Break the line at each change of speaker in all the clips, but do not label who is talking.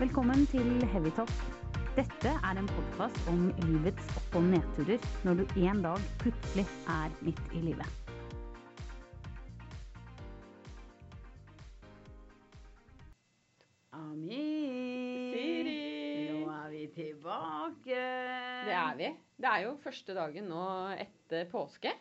Velkommen til Heavytop. Dette er en podkast om livets opp- og nedturer når du en dag plutselig er midt i livet. Amin!
Siri!
Nå er vi tilbake.
Det er vi. Det er jo første dagen nå etter påske.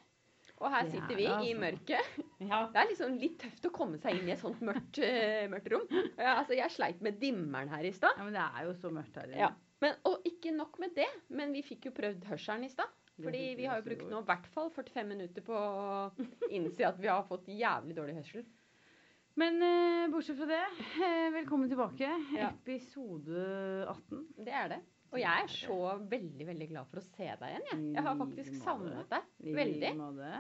Og her
Det er
sitter vi
det, altså.
i mørket.
Ja.
Det er liksom litt tøft å komme seg inn i et sånt mørkt, eh, mørkt rom. Ja, altså, jeg sleit med dimmeren her i stad.
men det er jo så mørkt her
Ja. Men, og ikke nok med det, men vi fikk jo prøvd hørselen i stad.
Det
Fordi
fikk vi
vi har
også
jo brukt
gjort.
nå i hvert fall 45 minutter på å innse at vi har fått jævlig dårlig hørsel.
Men eh, bortsett fra det, eh, velkommen tilbake.
Ja.
Episode 18.
Det er det. Og jeg er så veldig veldig glad for å se deg igjen. Jeg, jeg har faktisk
Like måte.
savnet deg veldig.
måte.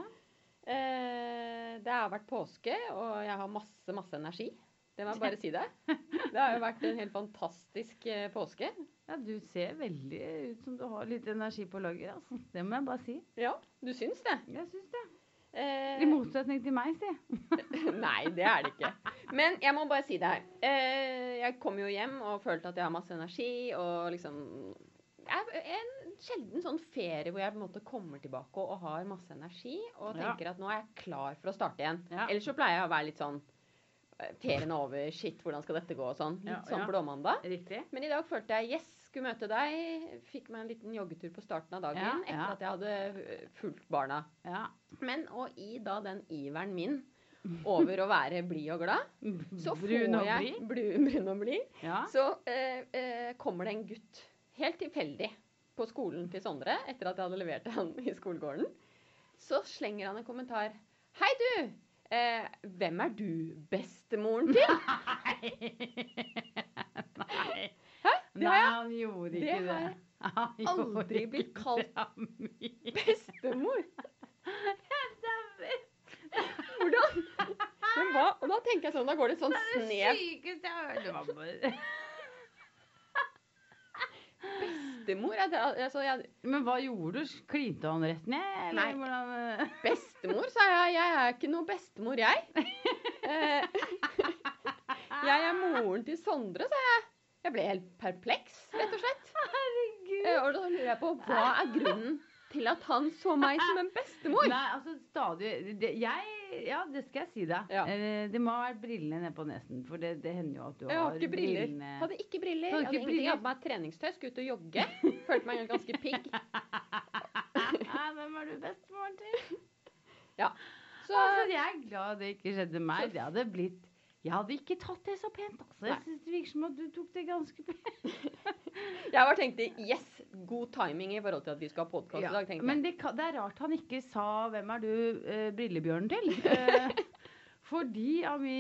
Eh, det har vært påske, og jeg har masse, masse energi. Det må jeg bare si deg. Det har jo vært en helt fantastisk eh, påske.
Ja, du ser veldig ut som du har litt energi på lager. Altså. Det må jeg bare si.
Ja, du syns det?
Jeg syns det.
Eh,
I motsetning til meg, si.
Nei, det er det ikke. Men jeg må bare si det her. Eh, jeg kom jo hjem og følte at jeg har masse energi og liksom jeg er En sjelden sånn ferie hvor jeg på en måte kommer tilbake og, og har masse energi og
Ja.
tenker at nå er jeg klar for å starte igjen.
Ja.
Ellers så pleier jeg å være litt sånn eh, Ferien er over, shit, hvordan skal dette gå? og sånn.
Ja,
Litt sånn
ja.
blåmandag.
Riktig.
Men i dag følte jeg yes, skulle møte deg. Fikk meg en liten joggetur på starten av dagen
Ja,
etter
ja.
at jeg hadde eh, fulgt barna.
Ja.
Men og i da den iveren min over å være blid og glad, så får
Brun og
jeg
blid.
Blu- brun og blid.
Ja.
Så eh, eh, kommer det en gutt, helt tilfeldig, på skolen til Sondre etter at jeg hadde levert han i skolegården. Så slenger han en kommentar. Hei, du! Eh, hvem er du bestemoren til?
Nei.
Det
Nei,
har jeg
han gjorde
det
ikke det.
har jeg
Han gjorde
aldri blitt
ikke
kalt.
det, Ami.
Bestemor? Hvordan? Men hva? Og da tenker jeg sånn, da går det sånn
Det
snev
sykeste jeg har hørt. Det var bare-
Bestemor? Jeg, altså, jeg,
Men hva gjorde du? Klinte han rett ned? Eller
Nei.
hvordan eh?
Bestemor, sa jeg. Jeg er ikke noe bestemor, jeg. Eh, jeg er moren til Sondre, sa jeg. Jeg ble helt perpleks, rett og slett.
Herregud.
Eh, og da lurer jeg på hva er grunnen til at han så meg som en bestemor?
Nei, altså stadig det, Jeg Ja, det skal jeg si deg.
Ja.
Eh, Det må ha vært brillene ned på nesen, for det, det hender jo at du
Jeg har ikke briller.
brillene-
Hadde ikke briller.
Hadde ikke
Jeg hadde ingenting.
briller.
Jeg hadde på meg treningstøy, skulle ut og jogge. Følte meg ganske pigg.
Nei, Hvem er du bestemoren til?
Så
Altså, jeg er glad det ikke skjedde meg. Det hadde blitt Jeg hadde ikke tatt det så pent, altså. Jeg
Nei.
synes det virker som at du tok det ganske pent.
jeg bare tenkte yes, god timing i forhold til at vi skal ha podkast i dag,
Ja,
tenkte jeg.
Men det, kan- det er rart han ikke sa 'Hvem er du eh, brillebjørnen til?' Eh, fordi Ami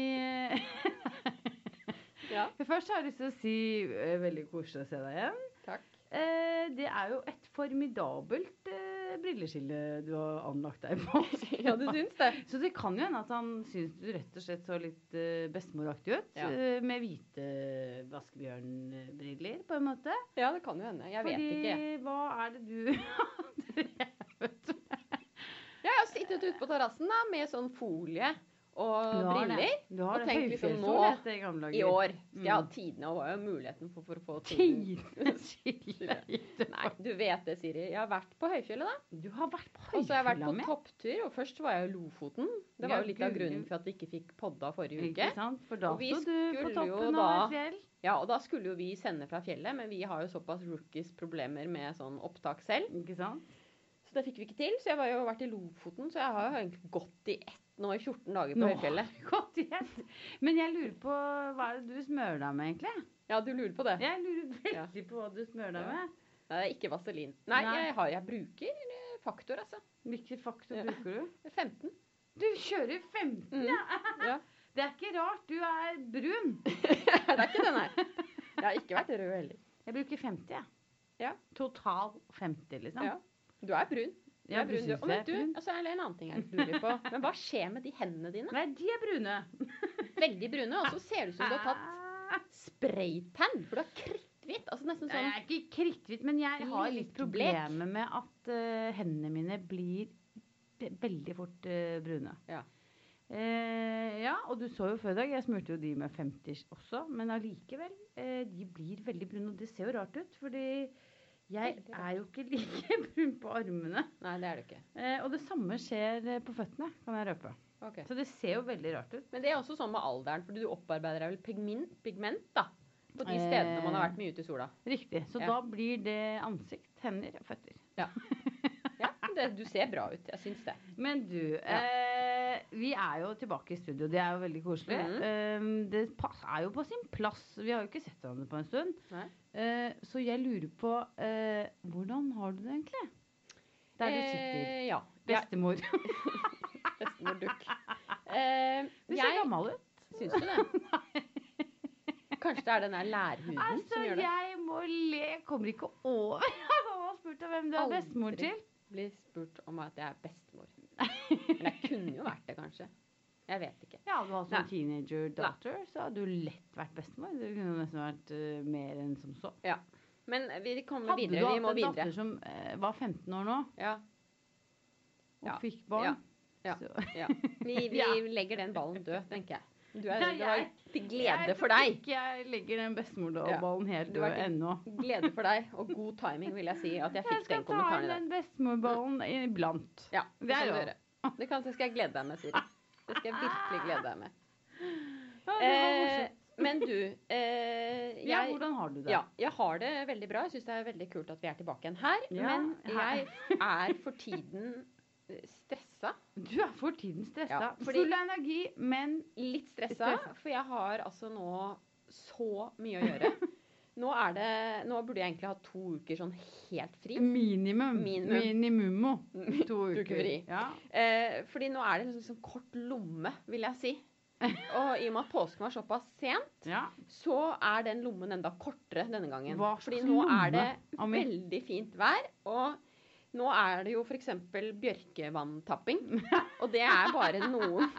Ja.
Først har jeg lyst til å si eh, veldig koselig å se deg igjen.
Takk.
Eh, det er jo et formidabelt eh, brilleskille du har anlagt deg på.
Ja, du syns det?
Så det kan jo hende at han syns du rett og slett så litt eh, bestemoraktig ut.
Ja.
eh, med hvite vaskebjørnbriller, på en måte.
Ja, det kan jo hende. Jeg vet
Fordi
ikke. jeg.
hva er det du hadde drevet med?
Jeg har sittet ute på terrassen da, med sånn folie og
Du har det.
briller
Du har
og
det
tenkt liksom,
høyfjellsstol
nå,
etter gamle dager.
i år. Skal jeg ha
Mm.
tidene og var jo muligheten for, for å få tiden.
Tidenes skille. gikk du
Nei,
på.
du vet det, Siri. Jeg har vært på høyfjellet, da.
Du har vært på
Og så har jeg vært
høyfjella
på
med.
topptur. Og først var jeg i Lofoten. Det
Ja,
var jo litt av
guri.
grunnen for at vi ikke fikk podda forrige uke.
Ikke sant? For da
Og vi
sto du på
skulle jo
toppen av
da-
et fjell.
Ja, og da skulle jo vi sende fra fjellet, men vi har jo såpass rookies problemer med sånn opptak selv.
Ikke sant?
Så det fikk vi ikke til. Så jeg har jo vært i Lofoten, så jeg har jo egentlig gått i ett nå i 14 dager på
Nå.
høyfjellet.
Godt gjett. Men jeg lurer på hva er det du smører deg med, egentlig?
Ja, du lurer på det?
Jeg lurer
Ja.
veldig på hva du smører deg
Ja.
med.
Nei, det er ikke vaselin. Nei,
Nei.
Jeg, har, jeg bruker eh, faktor, altså.
Hvilken faktor
Ja.
bruker du?
15.
Du kjører 15,
Mm.
ja!
Ja.
Det er ikke rart, du er brun.
det er ikke den her. Jeg har ikke vært rød heller.
Jeg bruker 50, jeg.
Ja.
Total 50, liksom.
Ja. Du er brun. Du
Ja,
er brun, du.
synes
Og men
jeg
du,
er brun.
altså, er det en annen ting jeg lurer på. Men hva skjer med de hendene dine?
Nei, de er brune.
Veldig brune, og så ser det ut som du har tatt
Ah.
spraytan. For du er kritthvit. Altså nesten
Nei,
sånn
jeg er ikke kritthvit, men jeg har litt
Litt blek.
problemer med at eh, hendene mine blir ve- veldig fort eh, brune.
Ja.
Eh, ja, og du så jo før i dag, jeg smurte jo de med 50 også, men allikevel. Eh, de blir veldig brune, og det ser jo rart ut, fordi jeg
Veldig rart.
er jo ikke like brun på armene.
Nei, det er det ikke.
Eh, og det samme skjer eh, på føttene, kan jeg røpe.
Ok.
Så det ser jo veldig rart ut.
Men det er også sånn med alderen, for du opparbeider deg vel pigment, pigment da, på de stedene man har vært mye ute i sola.
Riktig. Så
Ja.
da blir det ansikt, hender og føtter.
Ja, det, Du ser bra ut, jeg syns det.
Men du, eh, vi er jo tilbake i studio. Det er jo veldig koselig.
Mhm.
Eh, det pass, er jo på sin plass. Vi har jo ikke sett hverandre på en stund.
Nei.
Eh, så jeg lurer på eh, Hvordan har du det egentlig? Der du sitter.
Eh, ja. ja
Bestemor.
Bestemor Duck. Eh,
Du ser
jeg
gammel ut.
syns du det? Kanskje det er den der lærhuden
Altså,
som gjør det.
jeg må le. Jeg kommer ikke over at han har spurt om hvem du er
Aldri.
bestemor til.
Blir spurt om at jeg er bestemor. Men jeg kunne jo vært det, kanskje. Jeg vet ikke.
Ja, du har
Nei.
som teenager daughter, så hadde du lett vært bestemor. Du kunne nesten vært eh, mer enn som så.
Men vi kommer
Hadde du
videre. Vi
hatt
må
en
videre.
datter som eh, var 15 år nå
Ja,
og
Ja.
fikk barn,
Ja.
så
vi vi
Ja.
legger den ballen død, tenker jeg. Du er,
Ja,
det var
jeg-
til
Jeg
glede
tror
for deg.
Ikke jeg legger den bestemorballen helt
Du har
død
ikke-
ennå.
Glede for deg, og god timing, vil jeg si, at jeg
Jeg
fikk
skal
den
ta
kommentaren
inn
i dag.
den bestemorballen iblant.
Ja,
Det
det
er
kan du
lov.
gjøre. Det, kan, det skal jeg glede deg med, Siri. Det skal jeg virkelig glede deg med.
Ja, det var
Eh,
morsomt.
men du eh,
ja,
jeg,
hvordan har du det?
ja, jeg har det veldig bra. Jeg syns det er veldig kult at vi er tilbake igjen her.
Ja,
men
her.
jeg er for tiden eh, stressa.
Du er for tiden stressa.
Ja, fordi-
Full av energi, men
Litt stressa, for jeg har altså nå så mye å gjøre. Nå, er det, nå burde jeg egentlig ha to uker sånn helt fri.
minimum.
Minimum.
Minimumo. To
uker
uker.
fri.
Ja.
Eh, fordi nå er det en sånn, sånn kort lomme, vil jeg si. Og i og med at påsken var såpass sen,
ja.
så er den lommen enda kortere denne gangen.
Hva slags
fordi nå er det
lomme, Ami?
veldig fint vær, og nå er det jo f.eks. bjørkevanntapping. Og det er bare noen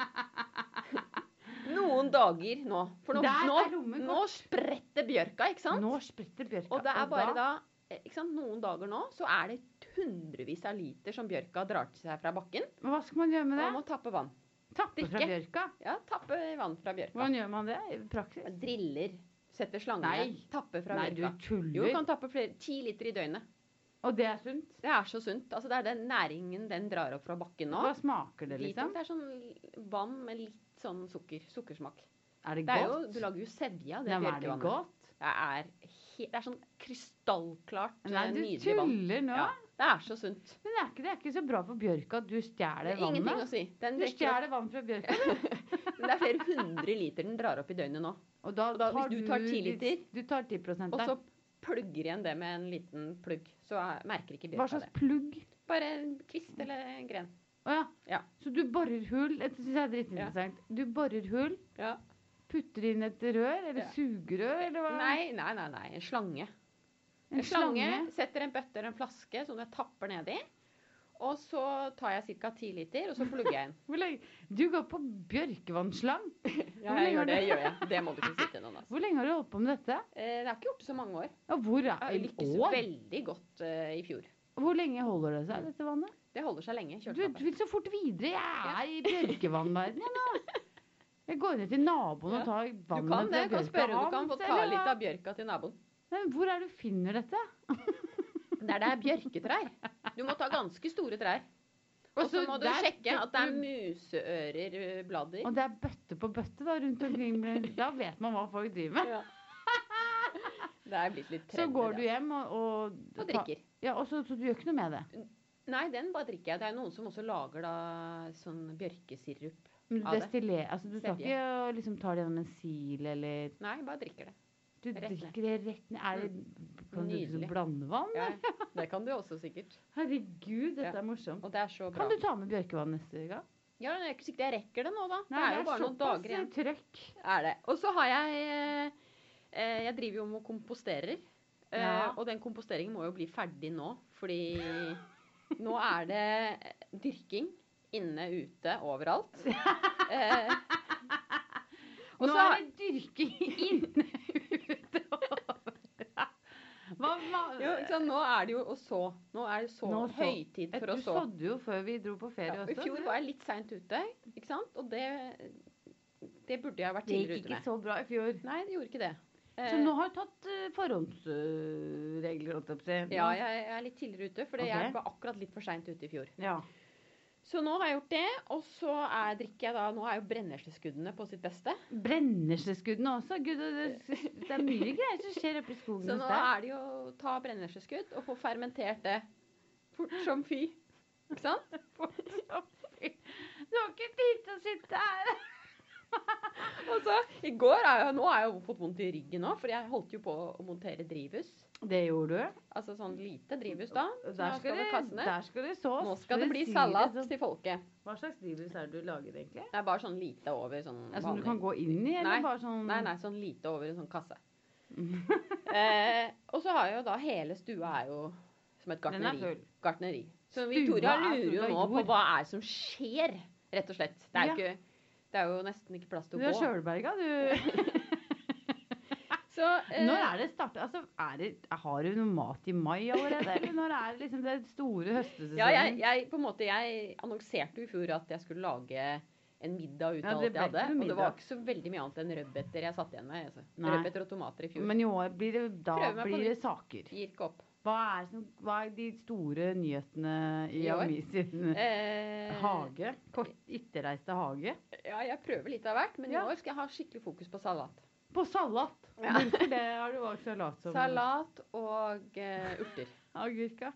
Noen dager nå. For nå,
Der er
nå,
lommen
nå
kort.
spretter bjørka, ikke sant?
Nå spretter bjørka.
Og det er bare
da
da eh, ikke sant? Noen dager nå så er det hundrevis av liter som bjørka drar til seg fra bakken.
Men Hva skal man gjøre med det?
Og må tappe vann.
Tappe fra
drikke.
bjørka?
Ja, tappe vann fra bjørka.
Hvordan gjør man det i praksis?
Driller. Sette slange.
Nei.
Tappe fra
Nei, du
bjørka.
tuller.
Jo, du kan tappe flere. Ti liter i døgnet.
Og det er sunt?
Det er så sunt. Altså, det er den næringen den drar opp fra bakken nå.
Hva smaker det,
Hvitokt
liksom?
er sånn vann med litt sånn sukker. Sukkersmak.
Er det
Det er jo,
godt?
du lager jo sevje av det
Nei, men er det
bjørkevannet.
godt?
Det er, he- det er sånn krystallklart,
Nei,
eh,
du
nydelig vann.
tuller nå.
Ja, det er så sunt.
Men det er, ikke, det er ikke så bra for bjørka at du
Det
stjeler
er ingenting å
vannet.
si. Den
Du
drikker opp,
stjeler vann fra bjørka,
men det er flere hundre liter den drar opp i døgnet nå.
og da,
Og da, hvis du tar 10
litt-
liter,
Du tar 10
Og
der.
så plugger igjen det med en liten plugg. Så er- merker ikke
Hva slags
bjørka det.
plugg?
Bare en kvist eller en gren.
Å ja.
Ja.
Så du borer hull Dette syns jeg er drittinteressant. Du borer hull,
Ja.
putter inn et rør, eller
Ja.
sugerør, eller hva?
Nei, nei, nei, nei. En slange.
en,
slange. Setter en bøtte eller en flaske som jeg tapper nedi. Og så tar jeg ca. 10 liter, og så plugger jeg inn.
Hvor lenge? Du går på bjørkevannslang.
Ja,
Hvor lenge
jeg
har
gjør det,
du-
gjør jeg. Det må du ikke si til noen. Altså.
Hvor lenge har du holdt på med dette?
Eh, Det har ikke gjort så mange år.
Ja, hvor
Jeg har
er
lykkes
år?
veldig godt eh, i fjor.
Hvor lenge holder det seg, dette vannet?
Det holder seg lenge. i
Du, du
kjøleskapet.
vil så fort videre. Jeg er i bjørkevannverdenen jeg nå. Jeg går ned til naboen
Ja.
og tar vannet
Du kan det. Du kan spørre, du kan få ta
eller
litt
hva?
av bjørka til naboen.
Nei, men Hvor er det du finner dette?
Der det er bjørketrær. Du må ta ganske store trær. Og så
Altså,
må du
der-
sjekke at det er eh, museørerblader.
Og det er bøtte på bøtte da, rundt omkring. Da vet man hva folk driver med.
Ja. Det er blitt litt
Så
trendy,
går du
det.
hjem og, og
Og drikker.
Ja, og så, så du gjør ikke noe med det.
Nei, den bare drikker jeg. Det er noen som også lager da sånn bjørkesirup.
Men du
Ja, det.
destiller, altså du tar
Sevje.
ikke og liksom tar det gjennom en sil eller
Nei, bare drikker det.
Du
Rett ned. Mm.
drikker det rett ned. Er det kan du liksom
Nydelig.
blandevann?
Ja, det kan du også sikkert.
Herregud, dette
Ja.
er morsomt.
Og det er så bra.
Kan du ta med bjørkevann neste gang?
Ja, men det er ikke sikkert jeg rekker det nå, da.
Nei,
det er jo bare noen
såpass,
dager igjen.
eh, trøkk.
Er det. Og så har jeg eh, eh, Jeg driver jo med komposterer. Eh,
Ja.
Og den komposteringen må jo bli ferdig nå, fordi nå er det eh, dyrking inne, ute, overalt. Eh, og
Nå
så
er det dyrking inne ute over. Hva, hva,
Jo, ikke sant? Nå er det jo å så. Nå er det så
Nå så.
høytid
Et,
for å
Eh, du
så.
sådde jo før vi dro på ferie
Ja, og I
også.
fjor var jeg litt seint ute, ikke sant? Og det, det burde jeg ha vært
det gikk
tidligere ute
ikke
med.
så bra i fjor.
Nei, det gjorde ikke det.
Så nå har du tatt eh, forhåndsregler, holdt jeg på å si. Nå-
Eh, ja, jeg, jeg er litt tidligere ute, for
Ok.
jeg var akkurat litt for seint ute i fjor.
ja.
Så nå har jeg gjort det, og så er, drikker jeg da Nå er jo brennesleskuddene på sitt beste.
Brennesleskuddene også. Gud, det, det er mye greier som skjer oppe i skogen
Så
hos
nå
deg.
er det jo å ta brennesleskrudd og få fermentert det fort som fy. Ikke sant?
Du har ikke tid til å sitte her!
Og så, i går er jeg, Nå har jeg jo fått vondt i ryggen nå, for jeg holdt jo på å montere drivhus.
Det gjorde du.
Altså sånn lite drivhus da. som
Der
jeg
skal,
over
det,
kassene.
der skal det sås.
Nå skal det bli
sier
salat
sånn.
til folket.
Hva slags drivhus er det du lager, egentlig?
Det er bare sånn lite over sånn
Ja, som Altså, du
vanlig.
kan gå inn i, eller
Nei.
bare sånn Mm.
Nei, nei, sånn lite over en sånn kasse. eh, og så har jeg jo da hele stua er jo som et
Den er
gartneri.
full.
gartneri. Så
Stua
Victoria
er full
lurer jo
av
nå på
jord.
hva er det som skjer, rett og slett. Det er,
Ja.
jo ikke, det er jo nesten ikke plass til
Du
å
er
gå.
sjølberga, du.
Så, eh,
Når er det starta? Altså, er det, har du noe mat i mai allerede? Eller når er det liksom den store høstesesongen?
ja, jeg, jeg, på en måte, jeg annonserte jo i fjor at jeg skulle lage en middag ut
Ja, det
av alt jeg
ble ikke
hadde.
noe
Og det
middag.
var ikke så veldig mye annet enn rødbeter jeg satt igjen med. Altså.
Nei.
Rødbeter og tomater i fjor.
Men i år blir det, da
Prøv meg på
blir det
nytt.
saker.
Gir ikke opp.
Hva er, som, hva er de store nyhetene i,
I år?
avisen?
Eh,
Hage? Kort ytterreiste hage?
Ja, jeg prøver litt av hvert, men
Ja.
i år skal jeg ha skikkelig fokus på salat.
På salat!
Ja.
Hvorfor det har du valgt salat som
Salat og eh, urter.
agurka?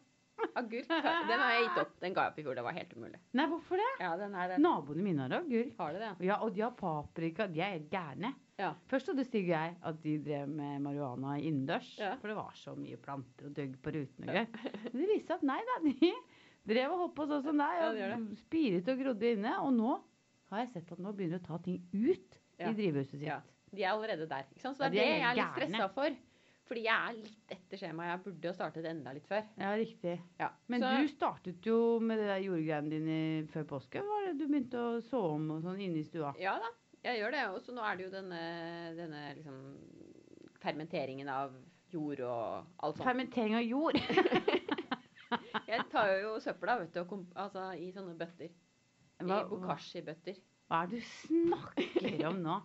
Agurk den har jeg gitt opp. Den ga jeg opp i fjor. Det var helt umulig.
Nei, hvorfor det?
Ja, den er den.
Naboene mine har agurk.
Har det det?
Ja, og de har paprika. De er helt gærne.
Ja.
Først trodde Stig og jeg at de drev med marihuana innendørs,
Ja.
for det var så mye planter og døgg på ruten og greier. Men det viste seg at nei da, de drev og hoppa sånn som deg,
Ja,
og
de gjør
spiret og grodde inne. Og nå har jeg sett at nå begynner de å ta ting ut
Ja.
i drivhuset sitt.
Ja. De er allerede der. Ikke sant? Så
Ja, de
det er
er
det
helt
jeg er litt
gærne.
stressa for. Fordi jeg er litt etter skjemaet. Jeg burde jo startet enda litt før.
Ja, riktig.
Ja.
Men
så,
du startet jo med det der jordgreiene dine før påske. Var det du begynte å så om og sånn inne i stua?
Ja da, jeg gjør det. Og så nå er det jo denne, denne liksom fermenteringen av jord og alt sånt.
Fermentering av jord.
Jeg tar jo søpla vet du, og kom, altså, i sånne bøtter. I
Hva- hva-
bokashi-bøtter.
Hva er det du snakker om nå?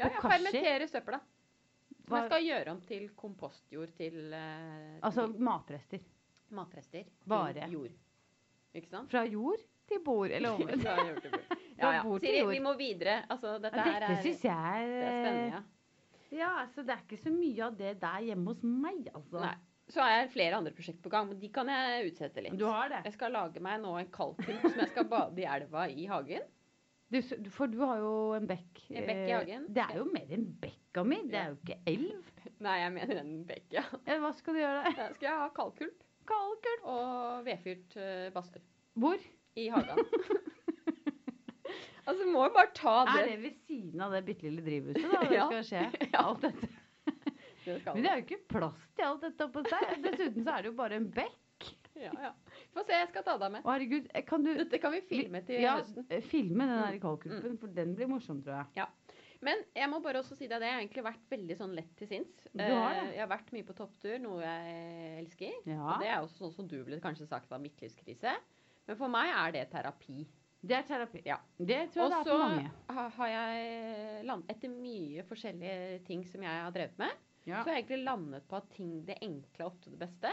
Ja, jeg
Bokashi?
fermenterer søpla. Som
Hva-
jeg skal gjøre om til kompostjord til, eh,
Altså matrester.
til matrester.
bare.
Til jord. Ikke sant?
Fra jord til bord, eller
Fra
omvendt.
jord til bord. Ja, ja.
bord til
Siri,
jord.
vi må videre. Altså, dette her
Dette
er,
syns jeg er,
det er spennende. Ja.
Ja, altså det er ikke så mye av det der hjemme hos meg, altså.
Nei. Så har jeg flere andre prosjekt på gang, men de kan jeg utsette litt.
Du har det.
Jeg skal lage meg nå en kalkkulp som jeg skal bade i elva i hagen.
Du, s- for du har jo en bekk.
En bekk i
eh,
hagen.
Det er jo mer enn bekka mi, det er jo ikke elv.
Nei, jeg mener en bekk, ja.
Ja, Hva skal du gjøre der?
Da skal jeg ha kalkkulp
Kalkulp.
og vedfyrt eh, badstue
Hvor?
i hagen. altså, må jo bare ta det.
Er det ved siden av det bitte lille drivhuset, da? Det
Ja.
skal skje.
Ja.
Alt dette.
Det skal
Men det er jo ikke plass til alt dette oppå seg. Dessuten så er det jo bare en bekk.
Ja, ja. Få se, jeg skal ta deg med.
Å herregud, eh, kan du
Dette kan vi filme til
ja, eh,
høsten. Mm.
filme den der kalkulpen, for den blir morsom, tror jeg.
Men jeg må bare også si deg det, jeg har egentlig vært veldig sånn lett til sinns.
Du har det.
Eh, Jeg har vært mye på topptur, noe jeg elsker.
Ja.
Og det er også sånn som du ville kanskje sagt var midtlivskrise. Men for meg er det terapi.
Det er terapi.
Ja.
Det tror jeg
Og
det er
så
for mange.
ha- har jeg landet Etter mye forskjellige ting som jeg har drevet med,
Ja.
så har jeg egentlig landet på at ting det enkle er ofte det beste.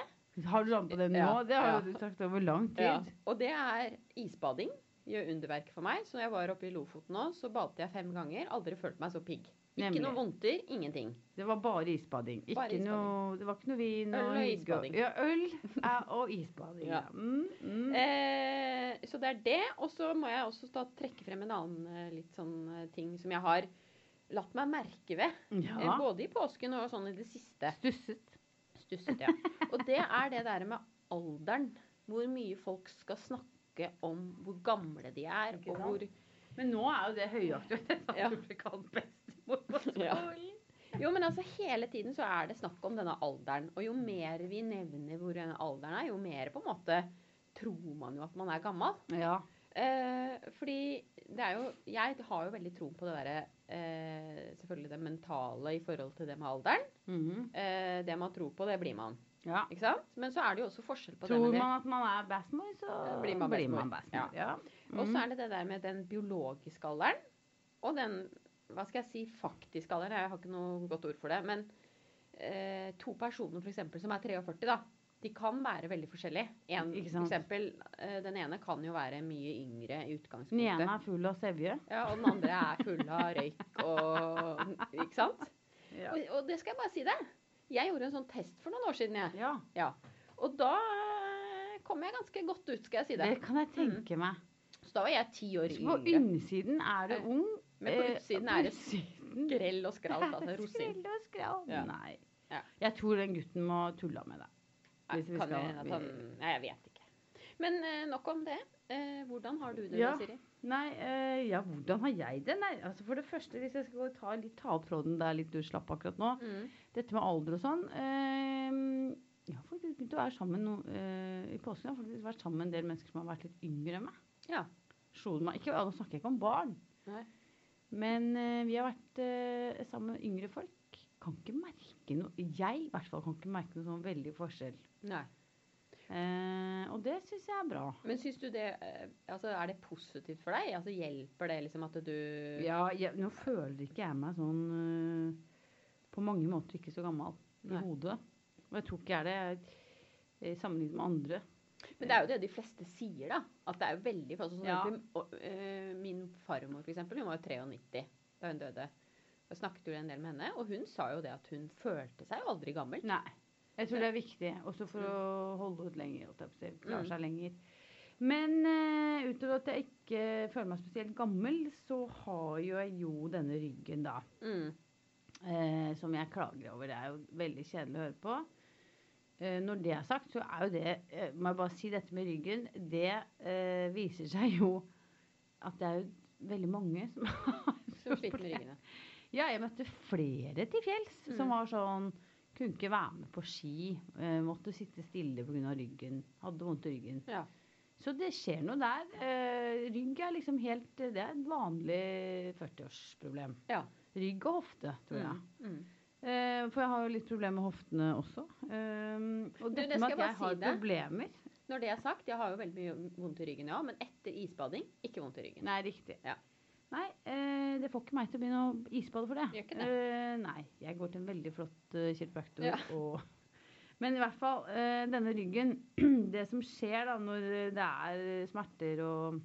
Har du landet på den nå?
Ja,
Det har
ja.
jo du sagt over lang tid.
Ja. Og det er isbading. Gjør underverk for meg. Så når jeg var oppe i Lofoten nå, så badet jeg fem ganger. Aldri følt meg så pigg. Ikke
Nemlig.
noe vondter, ingenting.
Det var bare isbading. Ikke
Bare isbading.
Noe, det var ikke noe vin
Øl og
hygge-
isbading.
Ja, øl eh, og isbading. ja.
Ja.
Mm, mm.
Eh, så det er det. Og så må jeg også da trekke frem en annen eh, litt sånn eh, ting som jeg har latt meg merke ved. Eh,
ja.
både i påsken og sånn i det siste.
Stusset.
Stusset, ja. Og det er det der med alderen. Hvor mye folk skal snakke om hvor gamle de er,
Ikke
og
sant?
hvor
Men nå er jo det høyaktuelt. at
Ja.
Du blir kalt bestemor på
Ja.
skolen.
Jo, men altså hele tiden så er det snakk om denne alderen. Og jo mer vi nevner hvor denne alderen er, jo mer på en måte tror man jo at man er gammel.
Ja.
Eh, fordi det er jo Jeg har jo veldig tro på det derre eh, Selvfølgelig det mentale i forhold til det med alderen.
Mhm.
Eh, det man tror på, det blir man.
Ja.
Ikke sant? Men så er det jo også forskjell på
Tror
det med
man at man er bassmore, så
Ja, blir man best boy.
boy, Ja.
Og
Mm.
så er det det der med den biologiske alderen og den hva skal jeg si, faktiske alderen. Jeg har ikke noe godt ord for det. Men eh, to personer for eksempel, som er 43, da, de kan være veldig forskjellige. En,
Ikke
for
sant?
eksempel, eh, den ene kan jo være mye yngre
Den
i
ene
utgangspunktet.
Mm. er full av sevje.
Ja, og den andre er full av røyk og Ikke sant?
Ja.
Og, og det skal jeg bare si deg. Jeg gjorde en sånn test for noen år siden, jeg.
ja.
Og da eh, kom jeg ganske godt ut, skal jeg si
Det
det.
kan jeg tenke meg.
Så da var jeg ti år
Så på
yngre.
innsiden er
Mm.
du ung.
Men på
eh,
utsiden er det
utsiden
Grell og skrall,
er
altså.
det
Rosin.
skrell og skrall.
Ja.
Nei.
Ja.
Jeg tror den gutten må tulla med deg.
Nei,
Hvis vi
kan
skal-
hende at han Nei, jeg vet ikke. Men eh, nok om det. Eh, hvordan har du det,
Ja.
Siri?
Nei, eh, ja, hvordan har jeg det? Nei, altså for det første, hvis jeg skal gå og ta, litt, ta opp tråden der litt du slapp akkurat nå.
Mm.
Dette med alder og sånn. Eh, jeg har faktisk begynt å være sammen no, eh, i påsken. Jeg har faktisk vært sammen med en del mennesker som har vært litt yngre enn meg.
Ja.
Slo det meg. Ikke, ja, nå snakker jeg ikke om barn.
Nei.
Men eh, vi har vært eh, sammen med yngre folk. Kan ikke merke noe Jeg i hvert fall kan ikke merke noe sånn veldig forskjell.
Nei.
Eh, og det syns jeg er bra.
Men syns du det eh, Altså, er det positivt for deg? Altså, hjelper det liksom at du
Ja, jeg, nå føler ikke jeg meg sånn øh, På mange måter ikke så gammel
Nei.
i hodet. Og jeg tror ikke jeg er det eh, sammenlignet med andre.
Men det er jo det de fleste sier, da. At det er jo veldig altså, sånn,
Ja.
egentlig, og, eh, Min farmor, for eksempel, hun var jo 93 da hun døde. Jeg snakket jo en del med henne, og hun sa jo det at hun følte seg jo aldri gammel.
Nei. Jeg tror det er viktig, også for å holde ut lenger. holdt jeg på å si, Klare
Mm.
seg lenger. Men eh, utover at jeg ikke føler meg spesielt gammel, så har jo jeg jo denne ryggen, da.
Mm.
eh, som jeg klager over. Det er jo veldig kjedelig å høre på. Eh, når det er sagt, så er jo det eh, Må jeg bare si dette med ryggen. Det eh, viser seg jo at det er jo veldig mange som har
Så hun sliter med ryggene.
Ja, jeg møtte flere til fjells
Mm.
som var sånn Kunne ikke være med på ski. eh, måtte sitte stille pga. ryggen. Hadde vondt i ryggen.
Ja.
Så det skjer noe der. Eh, rygg er liksom helt Det er et vanlig 40-årsproblem.
Ja.
Rygg og hofte, tror jeg.
Mm. Mm.
Eh, for jeg har jo litt problemer med hoftene også. Um, og
Du,
dette
det
med at
skal jeg bare
jeg har
si deg.
problemer
Når det er sagt, jeg har jo veldig mye vondt i ryggen, ja, men etter isbading ikke vondt i ryggen.
Nei, riktig.
Ja.
Nei, eh, det får ikke meg til å begynne å isbade for det.
Gjør ikke det.
Eh, nei. Jeg går til en veldig flott uh, Kjell Bøchter
Ja.
og Men i hvert fall, eh, denne ryggen Det som skjer da når det er smerter og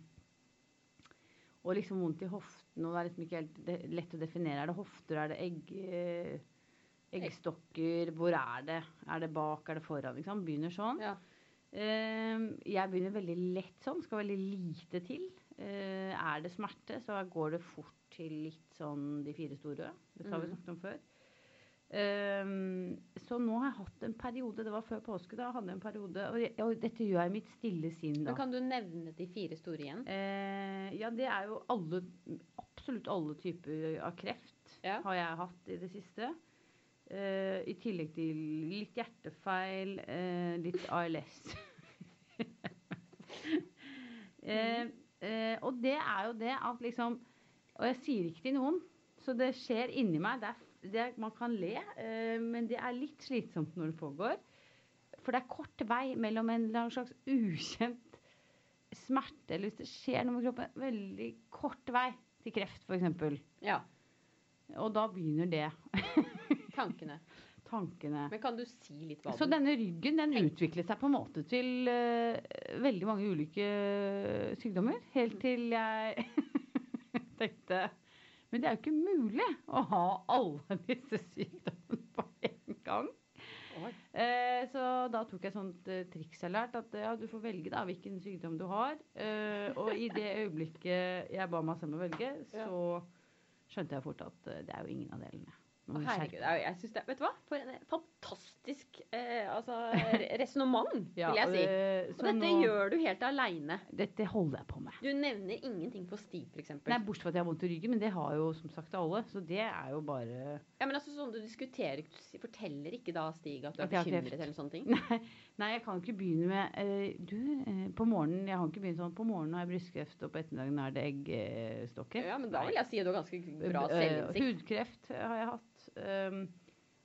og liksom vondt i hoften, og det er liksom ikke helt de- lett å definere. Er det hofter, er det egg, eh, eggstokker? Hvor er det? Er det bak, er det foran? Ikke sant? Begynner sånn.
Ja.
Ehm, jeg begynner veldig lett sånn, skal veldig lite til. Eh, er det smerte, så går det fort til litt sånn de fire store. Dette har vi
Mhm.
snakket om før. Ehm, så nå har jeg hatt en periode, det var før påske, da hadde jeg en periode Og, jeg, og dette gjør jeg i mitt stille sinn, da.
Men kan du nevne de fire store igjen?
Eh, ja, det er jo alle, absolutt alle typer av kreft
Ja.
har jeg hatt i det siste. Eh, I tillegg til litt hjertefeil, eh, litt ALS. eh, eh, og det er jo det at liksom Og jeg sier ikke til noen, så det skjer inni meg. Det er, f- det er, man kan le, eh, men det er litt slitsomt når det pågår. For det er kort vei mellom en eller annen slags ukjent smerte eller hvis det skjer noe med kroppen, veldig kort vei til kreft f.eks.
Ja,
Og da begynner det.
tankene.
Tankene.
Men kan du si litt hva
Så
du
denne ryggen den utviklet seg på en måte til eh, veldig mange ulike eh, sykdommer. Helt til jeg tenkte Men det er jo ikke mulig å ha alle disse sykdommene på en gang.
Oi.
Eh, så da tok jeg sånt eh, triks jeg har lært, at eh, ja, du får velge da hvilken sykdom du har. Eh, og i det øyeblikket jeg ba meg selv om å velge,
Ja.
så skjønte jeg fort at eh, det er jo ingen av delene. Nå
Å,
må vi
Herregud,
skjerpe.
jeg, jeg synes det, vet du hva? For en eh, fantastisk eh, altså, resonnement,
Ja,
vil jeg si.
øh,
Og
så
dette
nå-
gjør du helt aleine.
Dette holder jeg på med.
Du nevner ingenting for sti, f.eks.
Nei, Bortsett fra at jeg har vondt i ryggen, men det har jo som sagt alle. Så det er jo bare
Ja, men altså, sånn, du diskuterer ikke- du si- forteller ikke da Stig at du er
At jeg har
bekymret
kreft.
eller sånne ting?
Nei, nei, jeg kan ikke begynne med eh, Du, eh, på morgenen Jeg kan ikke begynne sånn På morgenen har jeg brystkreft, og på ettermiddagen er det eggstokker. Eh,
Ja, men da vil jeg si at du har ganske bra selvinnsikt.
Hudkreft har jeg hatt. ehm,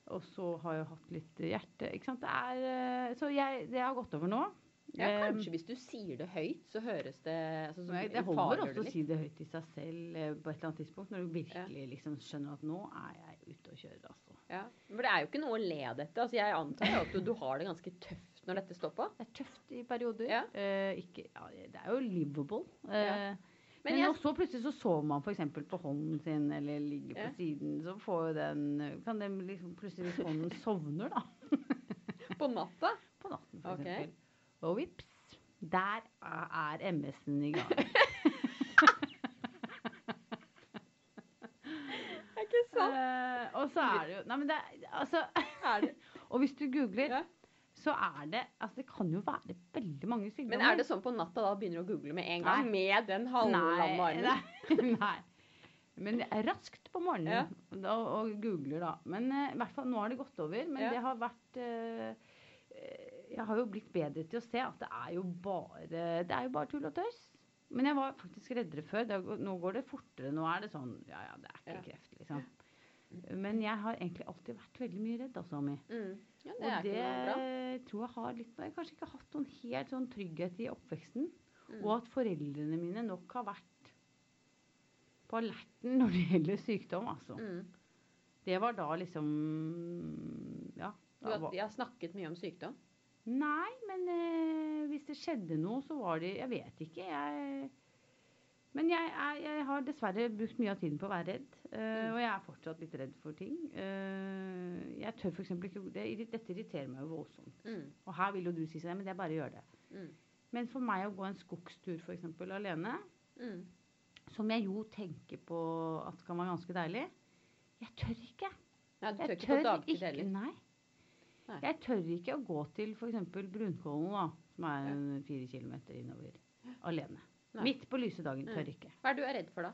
og så har jeg hatt litt hjerte. Ikke sant? Det er eh, Så jeg, det har gått over nå.
Ja,
Ehm,
kanskje hvis du sier det høyt, så høres det altså, så
men jeg- Det
farer
holder
du
ofte å
litt.
si det høyt til seg selv eh, på et eller annet tidspunkt, når du
Ja.
virkelig liksom skjønner at nå er jeg ute og kjører, altså.
Ja. For det er jo ikke noe å le av dette. Altså, jeg antar jo at du, du har det ganske tøft når dette står på.
Det er tøft i perioder.
Ja.
Eh, ikke, ja, det er jo livable.
Ja.
Eh,
Men
Men,
jeg-
også plutselig så sover man f.eks. på hånden sin eller ligger på
Ja.
siden, så får jo den Kan den liksom plutselig hvis hånden sovner, da,
På natta.
på natten
Ok.
f.eks. eksempel Og vips, der er er MS-en i gang.
Er ikke sant?
Eh, og så er det jo Nei, men det er altså
Er det?
Og hvis du googler,
Ja.
så er det Altså, det kan jo være veldig mange sykdommer.
Men er det sånn på natta da begynner du å google med en gang? Med den halvlamme
Nei,
armen?
nei, nei. Men det er raskt på morgenen
Ja.
da, og googler, da. Men eh, i hvert fall, nå har det gått over. Men
Ja.
det har vært eh, eh, Jeg har jo blitt bedre til å se at det er jo bare, det er jo bare tull og tøys. Men jeg var faktisk reddere før. Det, har gå- nå går det fortere. Nå er det sånn Ja ja, det er ikke kreft, liksom. Men jeg har egentlig alltid vært veldig mye redd, altså, Ami.
Mm. Ja, det
Og
er
det
ikke noe bra.
tror jeg har litt Jeg har kanskje ikke hatt noen helt sånn trygghet i oppveksten.
Mm.
Og at foreldrene mine nok har vært på alerten når det gjelder sykdom, altså.
Mm.
Det var da liksom Ja.
Du,
Da
har-
var,
de har snakket mye om sykdom.
nei, men eh, hvis det skjedde noe, så var det Jeg vet ikke, jeg Men jeg, er, jeg har dessverre brukt mye av tiden på å være redd. eh,
Mm.
Og jeg er fortsatt litt redd for ting. Eh, jeg tør f.eks. ikke det, irri- Dette irriterer meg jo voldsomt.
Mm.
Og her vil jo du si sånn, «Nei, men det er bare å gjøre det.
Mm.
Men for meg å gå en skogstur f.eks. alene,
Mm.
som jeg jo tenker på at kan være ganske deilig, jeg tør ikke.
Nei, du tør
Jeg
ikke på dagtid
ikke-
heller.
Nei.
Nei.
Jeg tør ikke å gå til f.eks. Brunkollen, da, som er en fire kilometer innover, alene.
Nei.
Midt på lyse dagen. Tør
Mm.
ikke.
Hva er det du er redd for da?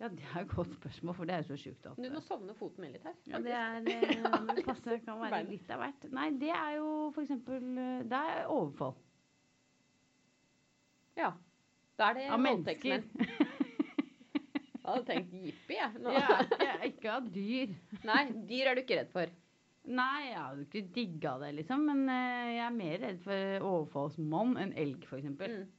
Ja, det er et godt spørsmål, for det er jo så sjukt at
Du, nå sovner foten min litt her.
ja, det er
faktisk.
eh, ja, men passe, kan være
Beina.
litt av hvert. Nei, det er jo f.eks. Det er overfall.
ja. Da er det
Av mennesker.
voldtektsmenn. Jeg hadde tenkt jippi, jeg. Nå.
Ja, ikke- ikke av dyr.
Nei, dyr er du ikke redd for.
Nei, jeg hadde ikke digga det, liksom. Men eh, jeg er mer redd for overfallsmann enn elg, f.eks. eksempel
Mm.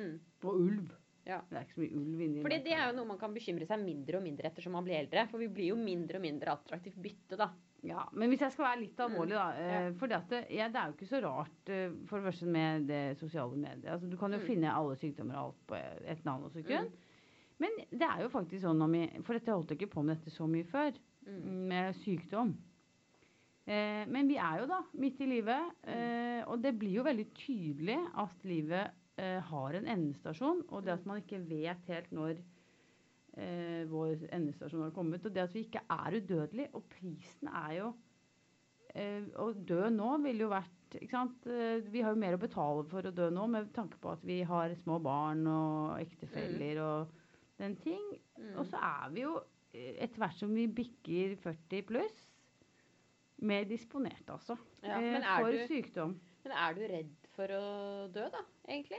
Mm.
Og ulv.
Ja.
Det er ikke så mye ulv inni
Fordi
meg.
det er jo noe man kan bekymre seg mindre og mindre ettersom man blir eldre. For vi blir jo mindre og mindre attraktivt bytte, da.
Ja, Men hvis jeg skal være litt alvorlig, da. eh,
Mm. Ja.
fordi at det, ja, det er jo ikke så rart eh, for det første med det sosiale mediet. Altså, du kan jo
Mm.
finne alle sykdommer og alt på et nanosekund. Men det er jo faktisk sånn, Ami, for dette holdt jeg ikke på med dette så mye før,
Mm.
med sykdom. Eh, men vi er jo da midt i livet, eh, og det blir jo veldig tydelig at livet eh, har en endestasjon, og det at man ikke vet helt når eh, vår endestasjon har kommet, og det at vi ikke er udødelige, og prisen er jo eh, Å dø nå ville jo vært ikke sant? Eh, Vi har jo mer å betale for å dø nå, med tanke på at vi har små barn og ektefeller og den ting.
Mm.
Og så er vi jo, eh, etter hvert som vi bikker 40 pluss, mer disponert, altså.
Ja,
eh,
men, er
for
du,
sykdom.
men er du redd for å dø, da? Egentlig?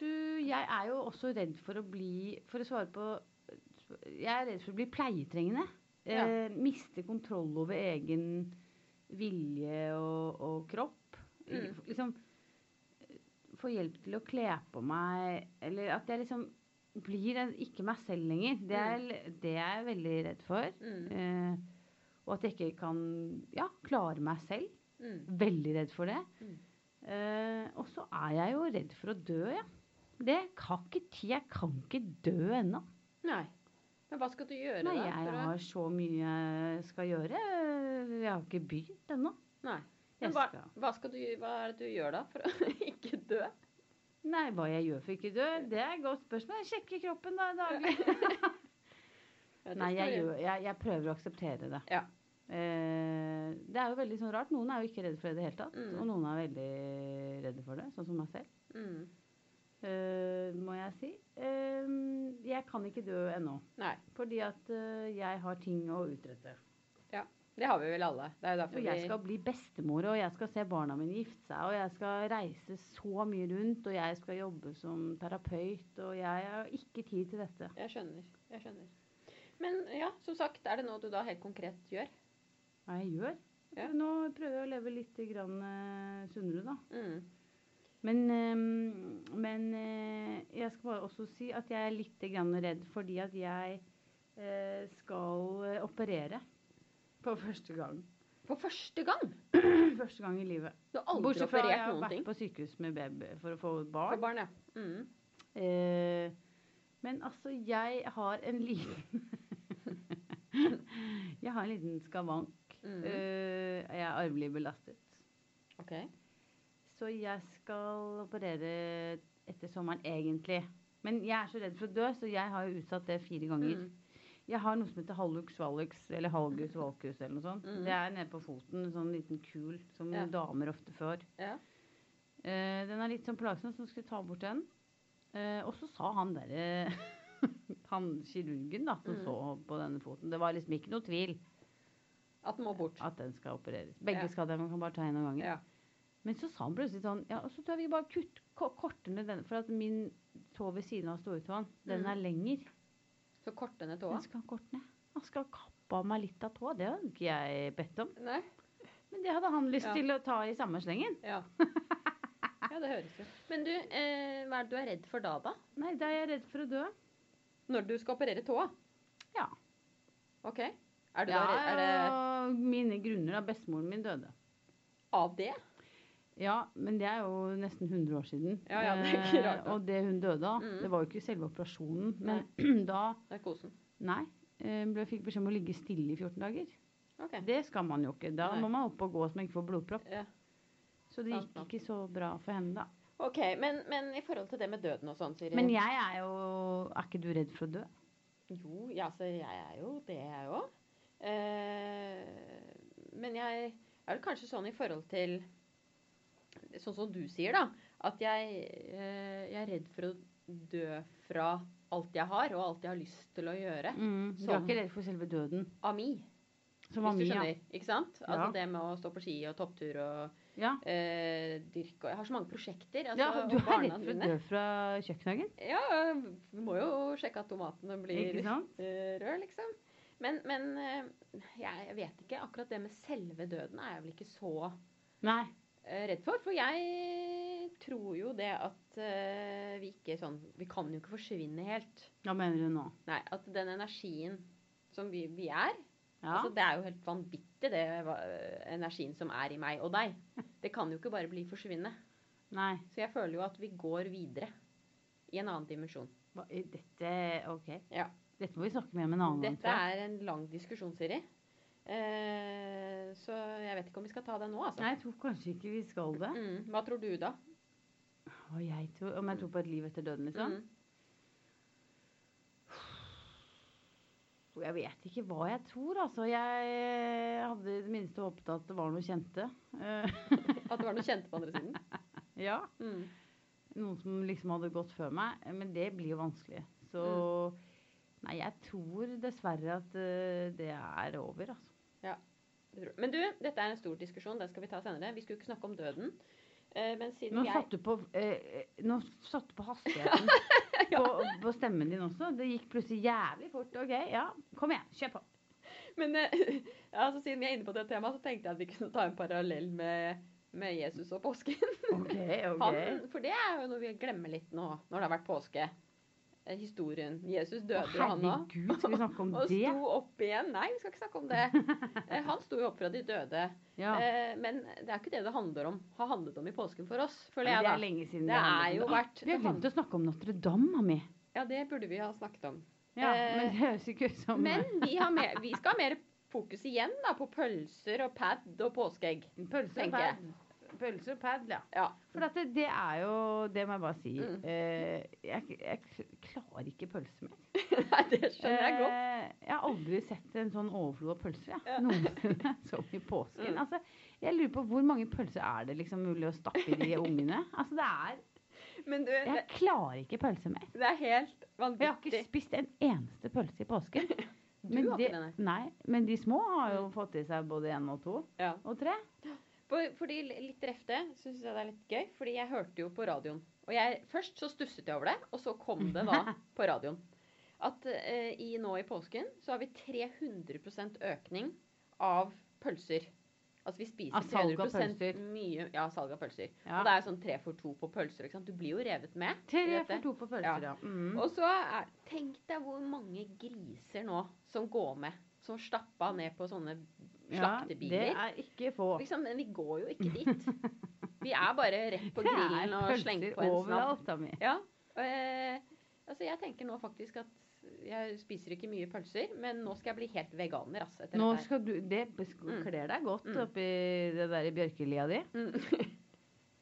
Du, jeg er jo også redd for å bli For å svare på Jeg er redd for å bli pleietrengende.
Ja.
Eh, miste kontroll over egen vilje og, og kropp.
Mm.
Liksom eh, Få hjelp til å kle på meg, eller at jeg liksom blir en, ikke meg selv lenger. Det er, det er jeg veldig redd for.
Mm.
Eh, og at jeg ikke kan ja, klare meg selv.
Mm.
Veldig redd for det.
Mm.
Eh, og så er jeg jo redd for å dø, ja. Det kan ikke ti. Jeg kan ikke dø ennå.
Nei. Men hva skal du gjøre
Nei,
da?
jeg
for å-
har så mye jeg skal gjøre. Jeg har ikke begynt ennå.
Nei.
Jeg
Men hva,
skal-
hva, skal du, hva er det du gjør da for å ikke dø?
Nei, hva jeg gjør for ikke å dø, det er et godt spørsmål. Jeg sjekker kroppen da daglig.
Ja, det
Nei, jeg,
står jo-
gjør, jeg, jeg prøver å akseptere det.
Ja.
Eh, det er jo veldig sånn rart. Noen er jo ikke redd for det i det hele tatt.
Mm.
Og noen er veldig redde for det, sånn som meg selv.
Mm.
eh, må jeg si. Eh, jeg kan ikke dø ennå.
Nei.
Fordi at eh, jeg har ting å utrette.
Det har vi vel alle. Det er jo
Og
derfor
jeg
vi
skal bli bestemor, og jeg skal se barna mine gifte seg, og jeg skal reise så mye rundt, og jeg skal jobbe som terapeut, og jeg har ikke tid til dette.
Jeg skjønner. Jeg skjønner. Men ja, som sagt, er det noe du da helt konkret gjør?
Hva jeg gjør?
Ja.
Nå prøver jeg å leve litt grann, eh, sunnere, da.
Mm.
Men, eh, men eh, jeg skal bare også si at jeg er litt grann redd fordi at jeg eh, skal eh, operere på første gang.
For første gang!
første gang i livet.
Du har aldri
Bortsett fra at jeg
operert
har
noen
vært
ting.
på sykehus med baby for å få barn.
For barn, ja. Mm.
Eh, men altså, jeg har en liten Jeg har en liten skavank.
Mm.
Eh, jeg er arvelig belastet.
OK.
Så jeg skal operere etter sommeren, egentlig. Men jeg er så redd for å dø, så jeg har jo utsatt det fire ganger.
Mm.
Jeg har noe som heter hallux valux, eller halgus valgus, eller noe sånt.
Mm.
Det er nede på foten, en sånn liten kul som
Ja.
damer ofte får.
Ja.
Eh, den er litt sånn plagsom, så nå skal vi ta bort den. Eh, og så sa han derre Han kirurgen da, som
Mm.
så på denne foten. Det var liksom ikke noe tvil
At den må bort.
at den skal opereres. Begge
Ja.
skal det, man kan bare ta en av gangen.
Ja.
Men så sa han plutselig sånn Ja, og så tror jeg vi bare kutt, ko- korter ned den, for at min tå ved siden av stortåen, den
Mm.
er lenger.
Så korte ned tåa.
Den skal han korte ned. Han skal kappe av meg litt av tåa. Det hadde ikke jeg bedt om.
Nei?
Men det hadde han lyst
Ja.
til å ta i samme slengen.
Ja. Ja, det høres jo. Men du, eh, hva er det du er redd for da, da?
Nei, da er jeg redd for å dø.
Når du skal operere tåa?
Ja.
OK. Er du
Ja,
da redd er det
og mine grunner da bestemoren min døde.
av det?
Ja, men det er jo nesten 100 år siden.
Ja, ja, det er ikke rart,
Eh,
da.
og det hun døde av,
Mm.
det var jo ikke selve operasjonen, men da
Narkosen.
Nei. eh, Ble, fikk beskjed om å ligge stille i 14 dager.
OK.
Det skal man jo ikke. Da
Nei.
må man opp og gå så man ikke får blodpropp.
Ja.
Så det
Sant,
gikk
sant.
ikke så bra for henne, da.
Ok, men, men i forhold til det med døden og sånn, sier
Men jeg er jo Er ikke du redd for å dø?
Jo, ja, altså, jeg er jo det, jeg òg. Eh, men jeg er vel kanskje sånn i forhold til Sånn som du sier, da. At jeg, eh, jeg er redd for å dø fra alt jeg har, og alt jeg har lyst til å gjøre.
Du er
Sånn.
ikke redd for selve døden?
Ami,
Som
hvis du
Amia.
skjønner. Ikke sant? Altså
Ja.
det med å stå på ski og topptur og
Ja.
eh, dyrke og Jeg har så mange prosjekter. Altså,
ja, du
og
er
barna
redd for å
mine.
dø fra kjøkkenhagen?
Ja, vi må jo sjekke at tomatene blir
Ikke sant?
eh, rød, liksom. Men, men eh, jeg jeg vet ikke. Akkurat det med selve døden er jeg vel ikke så
Nei.
eh, redd for. For jeg tror jo det at eh, vi ikke sånn Vi kan jo ikke forsvinne helt.
Hva mener du nå?
Nei, at den energien som vi, vi er
Ja.
altså Det er jo helt vanvittig, det hva- energien som er i meg og deg. Det kan jo ikke bare bli forsvinne.
Nei.
Så jeg føler jo at vi går videre i en annen dimensjon.
Hva, i dette OK.
Ja.
Dette må vi snakke mer om en annen gang.
Dette er en lang diskusjon, Siri. Eh, så jeg vet ikke om vi skal ta den nå, altså.
Nei, jeg tror kanskje ikke vi skal det.
Mm, hva tror du, da?
Å, jeg tror, om jeg tror på et liv etter døden, liksom?
Mm.
Og Jeg vet ikke hva jeg tror, altså. Jeg eh, hadde i det minste håpet at det var noe kjente. Eh,
At det var noe kjent på andre siden?
ja.
Mm.
Noen som liksom hadde gått før meg. eh, Men det blir jo vanskelig. Så
Mm.
Nei, jeg tror dessverre at eh, det er over, altså.
det tror jeg. Men du, dette er en stor diskusjon, den skal vi ta senere. Vi skulle ikke snakke om døden. Eh, men siden
Nå
jeg
satte du på, eh, nå satt du på hastigheten på, på stemmen din også. Det gikk plutselig jævlig fort. OK, ja. Kom igjen, kjør på.
Men eh, altså, siden vi er inne på det temaet, så tenkte jeg at vi kunne ta en parallell med, med Jesus og påsken.
OK, OK.
Han, for det er jo noe vi glemmer litt nå, når det har vært påske. Eh, Historien. Jesus
Å,
døde jo, han òg.
herregud, skal vi snakke om
Og
det?
sto opp igjen. Nei, vi skal ikke snakke om det. Eh, Han sto jo opp fra de døde.
Ja.
Eh, Men det er ikke det det handler om, har handlet om i påsken for oss, føler
Men
jeg
det
da.
er lenge siden
Det
handlet
er
om
jo
det. Å,
vært-
Vi har glemt å snakke om Notre-Dame, mami.
Ja, det burde vi ha snakket om.
Ja,
Eh,
men det høres ikke ut som
Men vi, har mer, vi skal ha mer fokus igjen da, på pølser og pad og påskeegg.
pølse og
tenker jeg.
pad. Pølse og padel, ja.
Ja.
For at det, det er jo Det må jeg bare si.
Mm.
eh, jeg, jeg klarer ikke pølse mer.
Nei, det skjønner jeg godt.
Eh, jeg har aldri sett en sånn overflod av pølser jeg.
Ja.
noensinne. Som i påsken.
Mm.
Altså, jeg lurer på hvor mange pølser er det liksom mulig å stappe i de ungene? Altså, det er,
Men du, det,
jeg klarer ikke pølse mer.
det er helt
Og Jeg har ikke
vanvittig.
spist en eneste pølse i påsken.
Du har
de,
ikke det,
nei, men de små har jo fått i seg både én og to
Ja.
og tre.
For- Fordi litt refte syns jeg det er litt gøy, fordi jeg hørte jo på radioen. Og jeg, først så stusset jeg over det, og så kom det da på radioen. At eh, i, nå i påsken så har vi 300 økning av pølser. Altså vi spiser
Av salg av
300
pølser.
mye Ja, salg av pølser.
Ja.
Og det er jo sånn tre for to på pølser. ikke sant? Du blir jo revet med. i
Tre
dette.
for to på pølser, ja. Mm.
Og så er, tenk deg hvor mange griser nå som går med. Som stappa ned på sånne
det
slaktebiler.
er ikke få.
Liksom, men vi går jo ikke dit. Vi er bare rett på grillen og slenger på en snabb.
overalt, da, mi.
Ja, og, eh, altså jeg tenker nå faktisk at jeg spiser ikke mye pølser, men nå skal jeg bli helt veganer. Altså, etter
Nå
dette her.
skal du Det besk-
Mm.
kler deg godt
Mm.
oppi det der i bjørkelia di.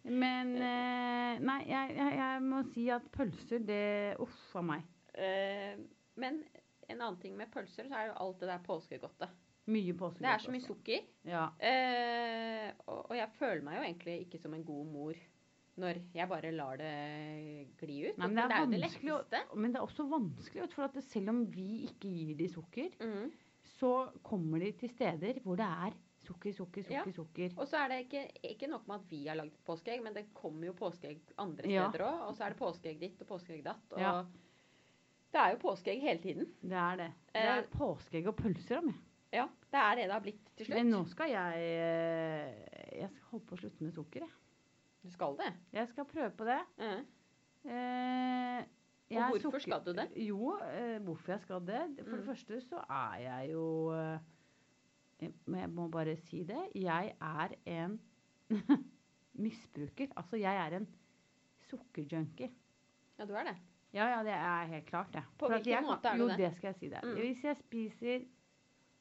Mm.
Men eh, Nei, jeg, jeg, jeg må si at pølser, det Uff a meg.
Eh, men en annen ting med pølser, så er jo alt det der påskegodtet.
Mye påskegodt.
Det er så mye
også.
sukker.
Ja.
Eh, og, og jeg føler meg jo egentlig ikke som en god mor når jeg bare lar det gli ut.
Nei, men
det,
det er
er jo det
vanskelig å-
letteste.
Men det er også vanskelig, vet du, for at det- selv om vi ikke gir de sukker,
Mhm.
så kommer de til steder hvor det er sukker, sukker,
Ja.
sukker. sukker.
Og så er det ikke, ikke nok med at vi har lagd påskeegg, men det kommer jo påskeegg andre
Ja.
steder òg. Og så er det påskeegg ditt og påskeegg datt. Og
Ja.
det er jo påskeegg hele tiden.
Det er det. Det
Eh,
er påskeegg og pølser om, jeg.
Ja, det er det det har blitt til slutt.
Men nå skal jeg eh, Jeg skal holde på å slutte med sukker, jeg.
Du skal det.
Jeg skal prøve på det.
Mhm.
Eh, jeg er
hvorfor
sukker-
skal du det?
Jo, eh, hvorfor jeg skal det? For
Mm.
det første så er jeg jo eh, jeg- men Jeg må bare si det. Jeg er en misbruker. Altså, jeg er en sukkerjunkie.
Ja, du er det.
Ja, ja, det er helt klart, det.
På
For at
hvilken
jeg kan-
måte er du
jo,
det?
Jo, det skal jeg si deg.
Mm.
Hvis jeg spiser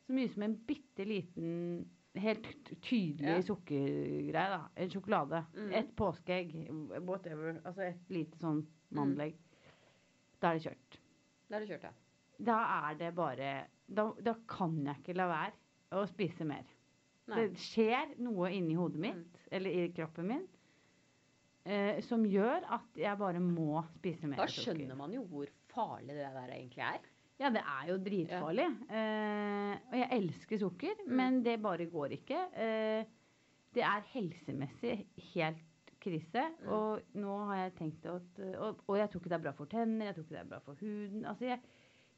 så mye som en bitte liten Helt t- tydelig
Ja.
sukkergreie, da. En sjokolade.
Mm.
Et påskeegg. Whatever. Altså et lite sånn mandelegg. Da er det kjørt.
Da har du kjørt, ja.
Da er det bare Da, da kan jeg ikke la være å spise mer.
Nei. Mm.
Det skjer noe inni hodet mitt, eller i kroppen min, eh, som gjør at jeg bare må spise mer
Da
sukker.
skjønner man jo hvor farlig det der egentlig er.
Ja, det er jo dritfarlig. Eh, og jeg elsker sukker, men det bare går ikke. Eh, det er helsemessig helt krise.
Mm.
Og nå har jeg tenkt at og, og jeg tror ikke det er bra for tenner, jeg tror ikke det er bra for huden. Altså jeg,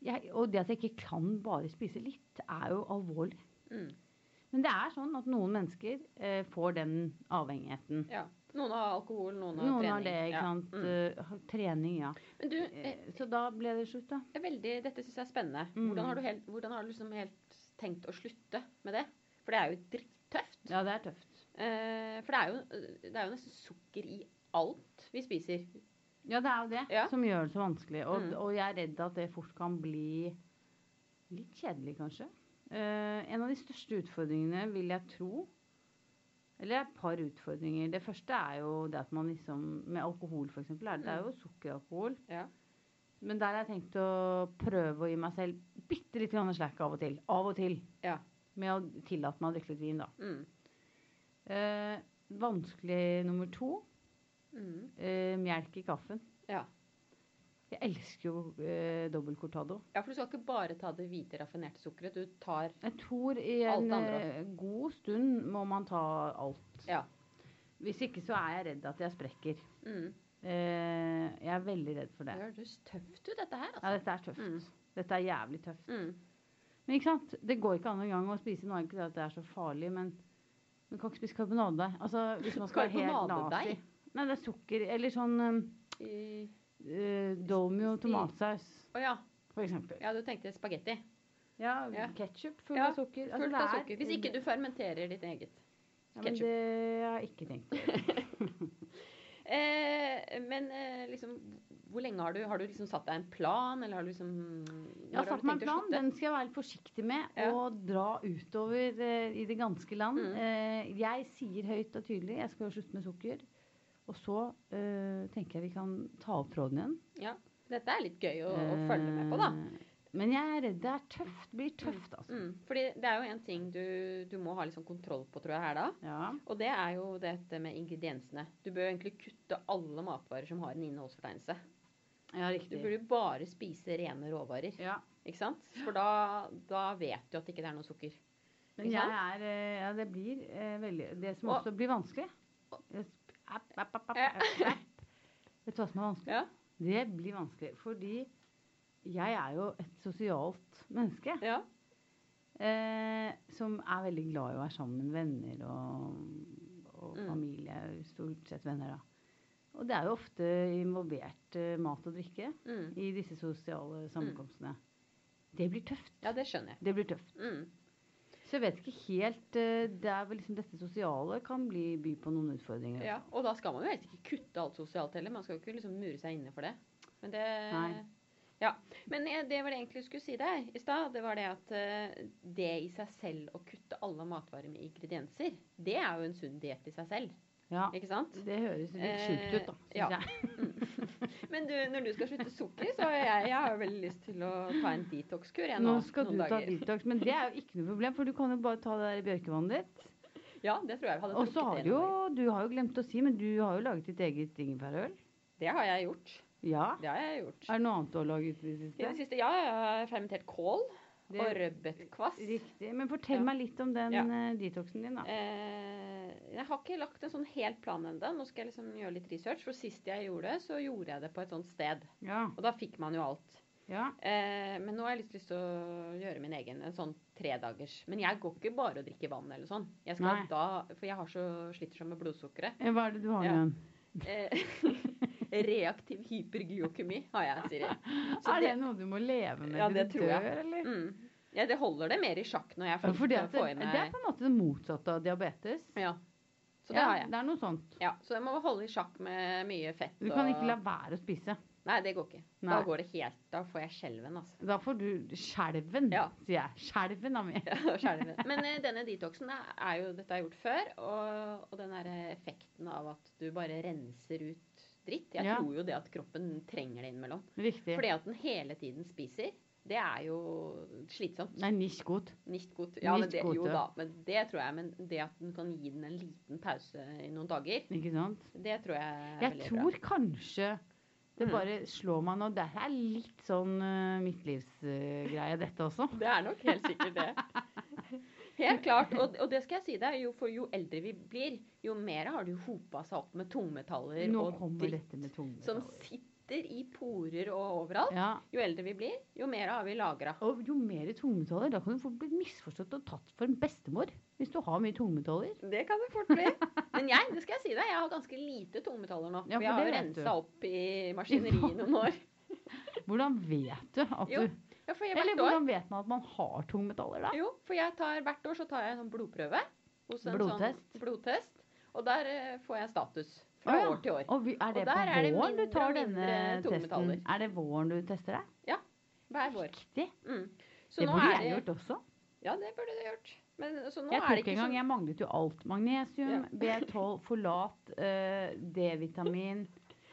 jeg, og det at jeg ikke kan bare spise litt, er jo alvorlig.
Mm.
Men det er sånn at noen mennesker eh, får den avhengigheten.
Ja. Noen har alkohol, noen har
Noen
trening.
har det, ikke
Ja.
sant.
Mm.
Eh, trening, ja.
Men du, eh,
Eh, så da ble det slutt, da.
Det er veldig, dette syns jeg er spennende.
Mm.
Hvordan har du, helt, hvordan har du liksom helt tenkt å slutte med det? For det er jo drittøft.
Ja, det er tøft.
Eh, for det er, jo, det er jo nesten sukker i alt vi spiser.
Ja, det er jo det
Ja.
som gjør det så vanskelig. Og,
Mm.
og jeg er redd at det fort kan bli litt kjedelig, kanskje. Eh, en av de største utfordringene vil jeg tro Eller et par utfordringer. Det første er jo det at man liksom Med alkohol, f.eks. Er det, det er jo sukkeralkohol.
Mm. Ja.
Men der har jeg tenkt å prøve å gi meg selv bitte litt grann slack av og til. Av og til.
Ja.
Med å tillate meg å drikke litt vin, da.
Mm.
Eh, vanskelig nummer to
Mm.
eh, melk i kaffen.
Ja.
Jeg elsker jo eh, dobbel cortado.
ja, for du skal ikke bare ta det hvite raffinerte sukkeret. Du tar
Jeg tror i
Alt
en
det andre
eh, god stund må man ta alt.
Ja.
Hvis ikke så er jeg redd at jeg sprekker.
mm.
Eh, jeg er veldig redd for
Det
det.
høres tøft ut, dette her.
Ja,
Altså.
dette er tøft.
Mm.
Dette er jævlig tøft.
Mm.
Men ikke sant? Det går ikke an en gang å spise Nå er ikke det at det er så farlig, men du kan ikke spise karbonade. Altså, hvis man skal være helt nazi.
Karbonadedeig?
Nei, det er sukker eller sånn
I...
eh, Dolmio tomatsaus,
Å ja.
for eksempel.
ja, du tenkte spagetti.
Ja,
Ja.
ketsjup full
Ja,
av sukker. Altså,
Fullt
det
av
er-
sukker. Hvis ikke du fermenterer ditt eget.
ja, men
ketchup.
Det har jeg ikke tenkt.
Eh, Eh, men eh, liksom, hvor lenge har du Har du liksom satt deg en plan, eller har du liksom
Jeg har satt meg en plan. Den skal jeg være litt forsiktig med
Ja.
å dra utover eh, i det ganske land.
Mm.
Eh, jeg sier høyt og tydelig jeg skal slutte med sukker. Og så eh, tenker jeg vi kan ta opp tråden igjen.
Dette er litt gøy å, å følge med på, da.
Eh, Men jeg er redd det er tøft. Blir tøft, altså.
Mm. Fordi det er jo en ting du, du må ha litt sånn kontroll på, tror jeg, her da.
Ja.
Og det er jo dette med ingrediensene. Du bør jo egentlig kutte alle matvarer som har en innholdsfortegnelse.
ja,
Du
riktig.
burde jo bare spise rene råvarer,
Ja.
ikke sant? For da, da vet du at det ikke er noe sukker.
Men
Ikke
jeg
sant?
er eh, Ja, det blir eh, veldig Det som
Og-
også blir vanskelig Jeg sp- app, app, app, app,
Ja.
app, app. Vet du hva som er vanskelig?
Ja.
Det blir vanskelig fordi jeg er jo et sosialt menneske
Ja.
eh, som er veldig glad i å være sammen med venner og, og
Mm.
familie. Stort sett venner, da. Og det er jo ofte involvert eh, mat og drikke
Mm.
i disse sosiale sammenkomstene. Det blir tøft.
ja, det skjønner jeg.
Det blir tøft.
Mm.
Så jeg vet ikke helt eh, Det er vel liksom dette sosiale kan bli by på noen utfordringer.
Ja. Og da skal man jo helst ikke kutte alt sosialt heller. Man skal jo ikke liksom mure seg inne for det. Men det
Nei.
Ja. Men eh, det var det jeg egentlig skulle si deg i stad. Det var det at eh, det i seg selv å kutte alle matvarer med ingredienser, det er jo en sunn diett i seg selv.
Ja,
Ikke sant?
Det høres litt
Eh,
sjukt ut, da. Synes
ja.
jeg.
Men du, når du skal slutte sukker, så har jeg, jeg har jo veldig lyst til å ta en detox-kur. jeg
Nå skal du
noen
ta
dager.
detox, men det er jo ikke noe problem, for du kan jo bare ta det der bjørkevannet ditt.
Ja, det tror jeg vi hadde
Og så
drukket
har
det
du jo
noen dager.
Du har jo glemt å si, men du har jo laget ditt eget ingefærøl.
Det har jeg gjort.
Ja.
Det har jeg
Er
gjort.
det noe annet du har laget i det
I det
siste?
siste, ja, jeg har fermentert kål
Det-
og rødbetkvass.
Riktig. Men fortell
Ja.
meg litt om den
Ja.
eh, detoxen din, da.
Eh, jeg har ikke lagt en sånn helt plan ennå. Nå skal jeg liksom gjøre litt research. For sist jeg gjorde det, så gjorde jeg det på et sånt sted.
Ja.
Og da fikk man jo alt.
ja.
Eh, men nå har jeg litt lyst til å gjøre min egen en sånn tredagers. Men jeg går ikke bare og drikker vann eller sånn. Jeg skal
Nei.
da, For jeg har så sliter sånn med blodsukkeret.
Eh, Hva er det du har
Ja.
igjen?
Eh, reaktiv hyperglykemi har jeg, Siri. Så
Er det
det-
noe du må leve med
Ja,
til
det
du
tror jeg.
dør, eller?
Mm. Ja, det holder det mer i sjakk når jeg
Ja,
får,
Fordi at det,
får i meg
det er på en måte det motsatte av diabetes.
Ja. Så det
ja,
har jeg.
Det er noe sånt.
Ja, så jeg må holde i sjakk med mye fett.
Du kan ikke la være å spise.
Nei, det går ikke. Da
Nei.
går det helt Da får jeg skjelven, altså.
Da får du skjelven,
Ja.
sier jeg. Skjelven av meg.
Ja, skjelven. Men eh, denne detoxen er er jo Dette har jeg gjort før. Og, og den derre effekten av at du bare renser ut dritt. Jeg
Ja.
tror jo det at kroppen trenger det innimellom.
Riktig.
Fordi at den hele tiden spiser, det er jo slitsomt.
Nei, nicht gut.
Nicht gut. Ja, men det,
Nicht gut,
jo
ja.
da, men det tror jeg. Men det at den kan gi den en liten pause i noen dager,
Ikke sant?
det tror jeg er
Jeg
veldig bra.
tror kanskje det
Mm.
bare slår meg nå. Det her er litt sånn uh, midtlivsgreie, dette også.
Det er nok helt sikkert det. Helt klart. Og, og det skal jeg si deg, jo, for jo eldre vi blir, jo mer har det jo hopa seg opp med tungmetaller
Nå
og
kommer
dritt
dette med
som
tungmetaller.
sitter i porer og overalt.
Ja.
Jo eldre vi blir, jo mer har vi lagra.
Og jo mer tungmetaller, da kan du få blitt misforstått og tatt for en bestemor. Hvis du har mye tungmetaller.
Det kan det fort bli. Men jeg det skal jeg si deg, jeg har ganske lite tungmetaller nå.
Ja,
for
for
jeg
det
har jo
vet du.
rensa opp i maskineriet i noen år.
Hvordan vet du at
Jo,
du
Ja, for jeg,
Eller
hvert år,
hvordan vet man at man har tungmetaller, da?
jo, for jeg tar, hvert år så tar jeg en sånn blodprøve. Hos en
Blodtest?
Sånn blodtest. Og der eh, får jeg status fra
Å, ja.
år til år.
Og vi, er det
der
på
er det
våren du
mindre
tar
og mindre
denne testen?
tungmetaller.
Er det våren du tester deg?
Hver vår.
Riktig.
Mm. Så
Det
nå
burde
er
jeg
det
gjort også.
Ja, det burde du gjort. Men, så nå
Jeg
er det
tok
ikke
en gang,
sånn
jeg manglet jo alt. Magnesium, B12, folat, eh, D-vitamin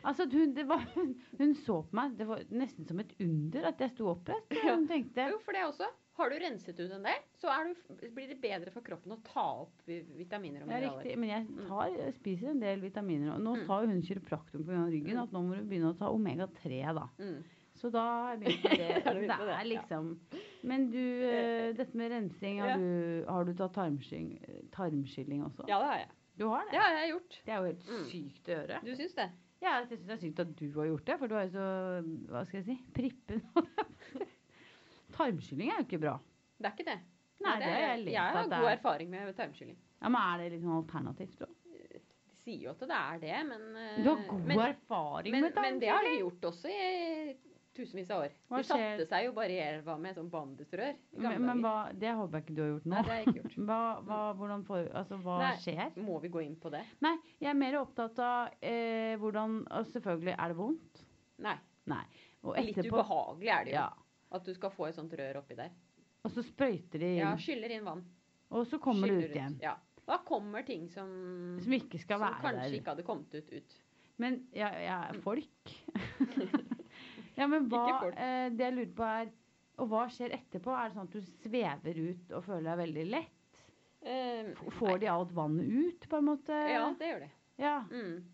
Altså, at hun, det var, hun, hun så på meg, det var nesten som et under at jeg sto oppreist.
Ja.
Hun tenkte
Jo, for det også. Har du renset ut en del, så er du, blir det bedre for kroppen å ta opp vi- vitaminer og
det er
mineraler.
riktig, men jeg tar, jeg spiser en del vitaminer. Og nå
Mm.
sa jo hun kiropraktoren på grunn av ryggen
Mm.
at nå må du begynne å ta omega-3, da.
Mm.
Så da har jeg begynt med det.
Da har du begynt
Så det
med det,
er
ja.
liksom Men du, eh, dette med rensing, har
Ja.
du, har du tatt tarmskyng- tarmskylling også?
Ja, det har jeg.
Du har
Det
det?
har jeg gjort.
Det er jo helt
Mm.
sykt å gjøre.
Du syns det?
Ja, jeg synes det er sykt at du har gjort det, for du er jo så Hva skal jeg si? Prippen. Tarmskylling er jo ikke bra.
Det er ikke det.
Nei, det har jeg
jeg
lest
har
at det
god
er.
erfaring med tarmskylling.
Ja, men er det liksom alternativt, da?
De sier jo at det er det, men eh,
Du har god
men,
erfaring
men,
med tarmskylling.
men det har de gjort også i tusenvis av år.
Hva
De
skjer-
satte seg jo bare i elva med sånn bambusrør i gamle
Men, men
dager.
hva, det håper jeg ikke du har gjort nå.
Nei, det er ikke gjort.
Hva, hva, hvordan for, altså, hva
Nei.
skjer?
Må vi gå inn på det?
Nei, jeg er mer opptatt av eh, hvordan og Selvfølgelig er det vondt.
Nei.
Og
Litt
etterpå
ubehagelig er det jo.
ja.
At du skal få et sånt rør oppi der.
Og så sprøyter de inn.
Ja, Skyller inn vann.
og så kommer det
skyller
ut igjen.
Ja. Da kommer ting som,
Som ikke skal
som
være
kanskje
der.
ikke hadde kommet ut. ut.
Men ja, ja, folk Ja, men hva
Ikke folk.
eh, Det jeg lurer på, er Og hva skjer etterpå? Er det sånn at du svever ut og føler deg veldig lett?
Eh,
Får
nei.
de alt vannet ut, på en måte?
Ja, det gjør det.
ja.
Mm.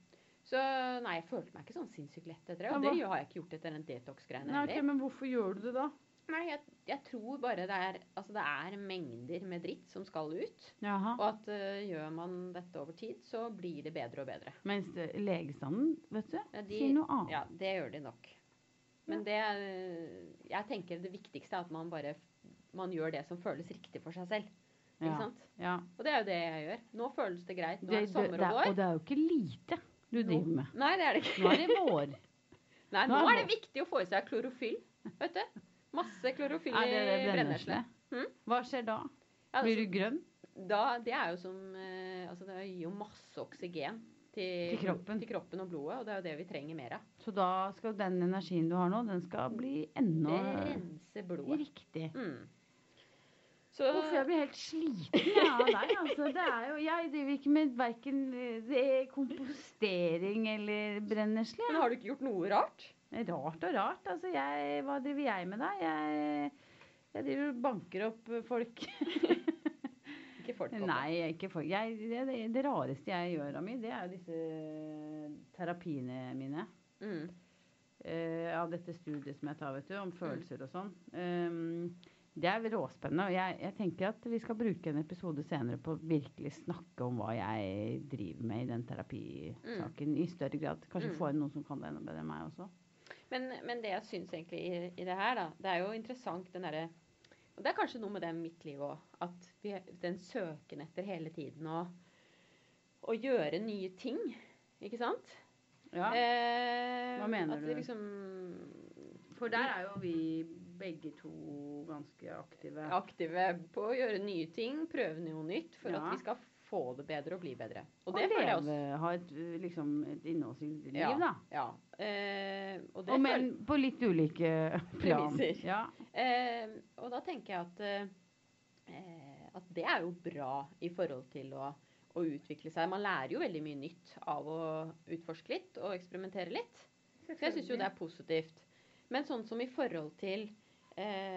Så nei, jeg følte meg ikke sånn sinnssykt lett etter det.
Ja,
Og
hva-
det har jeg ikke gjort etter den detox-greia
Nei, ok,
heller.
men hvorfor gjør du det da?
Nei, jeg, jeg tror bare det er Altså, det er mengder med dritt som skal ut.
Jaha.
Og at eh, gjør man dette over tid, så blir det bedre og bedre.
Mens eh, legestanden, vet du,
Ja, de-
sier noe annet.
Ja, det gjør de nok. Men det eh, Jeg tenker det viktigste er at man bare man gjør det som føles riktig for seg selv. Ikke
Ja,
sant?
ja.
Og det er jo det jeg gjør. Nå føles det greit. Nå er
Det,
det
det,
sommer
det,
og
er- og
vår.
det er jo ikke lite du
Nå-
driver med.
Nei, det er
Nå
det ikke.
er det vår.
Nei,
nå
nå
er
er det
vår.
viktig å få i seg klorofyll. Vet du? Masse klorofyll
Er
i
det det
brennesle.
brenneslet?
Hm?
Hva skjer da?
Ja,
Blir
altså,
du grønn
da, det er jo som eh, Altså, det gir jo masse oksygen til,
til kroppen?
til kroppen og blodet, og det er jo det vi trenger mer av.
Så da skal den energien du har nå, den skal bli
Det
enda
renser blodet.
riktig.
Mm. Så
Uff, jeg blir helt sliten jeg, av deg. Altså, det er jo, jeg driver ikke med verken kompostering eller brennesle.
Men har du ikke gjort noe rart?
Rart og rart. Altså, jeg, hva driver jeg med da? Jeg, jeg driver og banker opp eh, folk.
Ikke folk oppe.
Nei, jeg er ikke folk. Jeg, det, det, det rareste jeg gjør av meg, det er jo disse eh, terapiene mine.
Mm.
eh, av dette studiet som jeg tar, vet du, om følelser og sånn. Ehm, det er råspennende. Og jeg, jeg tenker at vi skal bruke en episode senere på å virkelig snakke om hva jeg driver med i den terapisaken i større grad. Kanskje
Mm.
få inn noen som kan det enda bedre enn meg også.
Men, men det jeg syns egentlig i, i det her, da, det er jo interessant den derre Og det er kanskje noe med det i mitt liv òg, at vi, den søken etter hele tiden å, å gjøre nye ting. Ikke sant? Eh,
Hva mener
at
du?
Det liksom,
For der er jo vi begge to ganske aktive.
aktive på å gjøre nye ting, prøve noe nytt for
Ja.
at vi skal få det bedre og bli bedre. Og
Og
det føler jeg også.
ha et, eh, liksom, et innholdsrikt liv,
Ja,
da.
Ja. Eh, og det
Og
føler-
men på litt ulike plan.
Premisser.
Ja.
Eh, og da tenker jeg at, eh, eh, at det er jo bra i forhold til å, å utvikle seg. Man lærer jo veldig mye nytt av å utforske litt og eksperimentere litt. Så jeg syns jo det er positivt. Men sånn som i forhold til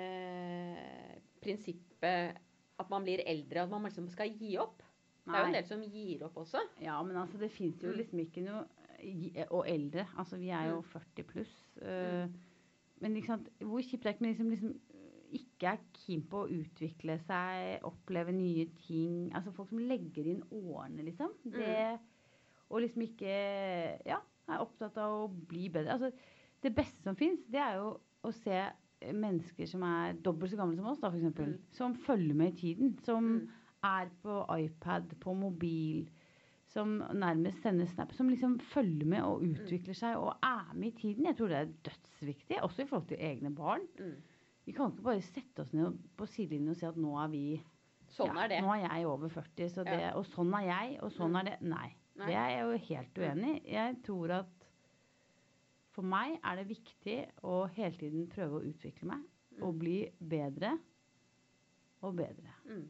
eh, prinsippet at man blir eldre, at man liksom skal gi opp. Det er jo en
Nei.
del som gir opp også.
Ja, men altså det fins jo
Mm.
liksom ikke noe gi- Og eldre. Altså vi er jo 40 pluss.
Mm.
eh, Men ikke sant, hvor kjipt er det ikke med de som liksom ikke er keen på å utvikle seg, oppleve nye ting Altså folk som legger inn årene, liksom.
Mm.
Det, og liksom ikke Ja, er opptatt av å bli bedre. Altså det beste som fins, det er jo å se eh, mennesker som er dobbelt så gamle som oss, da, for eksempel.
Mm.
Som følger med i tiden. Som
Mm.
er på iPad, på mobil. Som nærmest sender snap. Som liksom følger med og utvikler seg og er med i tiden. Jeg tror det er dødsviktig, også i forhold til egne barn.
Mm.
Vi kan ikke bare sette oss ned på sidelinjen og si at nå er vi
Sånn
ja,
er det.
Nå er jeg over 40, så det, og sånn er jeg, og sånn er det. Nei.
Nei.
Det er jeg jo helt uenig i. Jeg tror at for meg er det viktig å hele tiden prøve å utvikle meg og bli bedre og bedre.
Mm.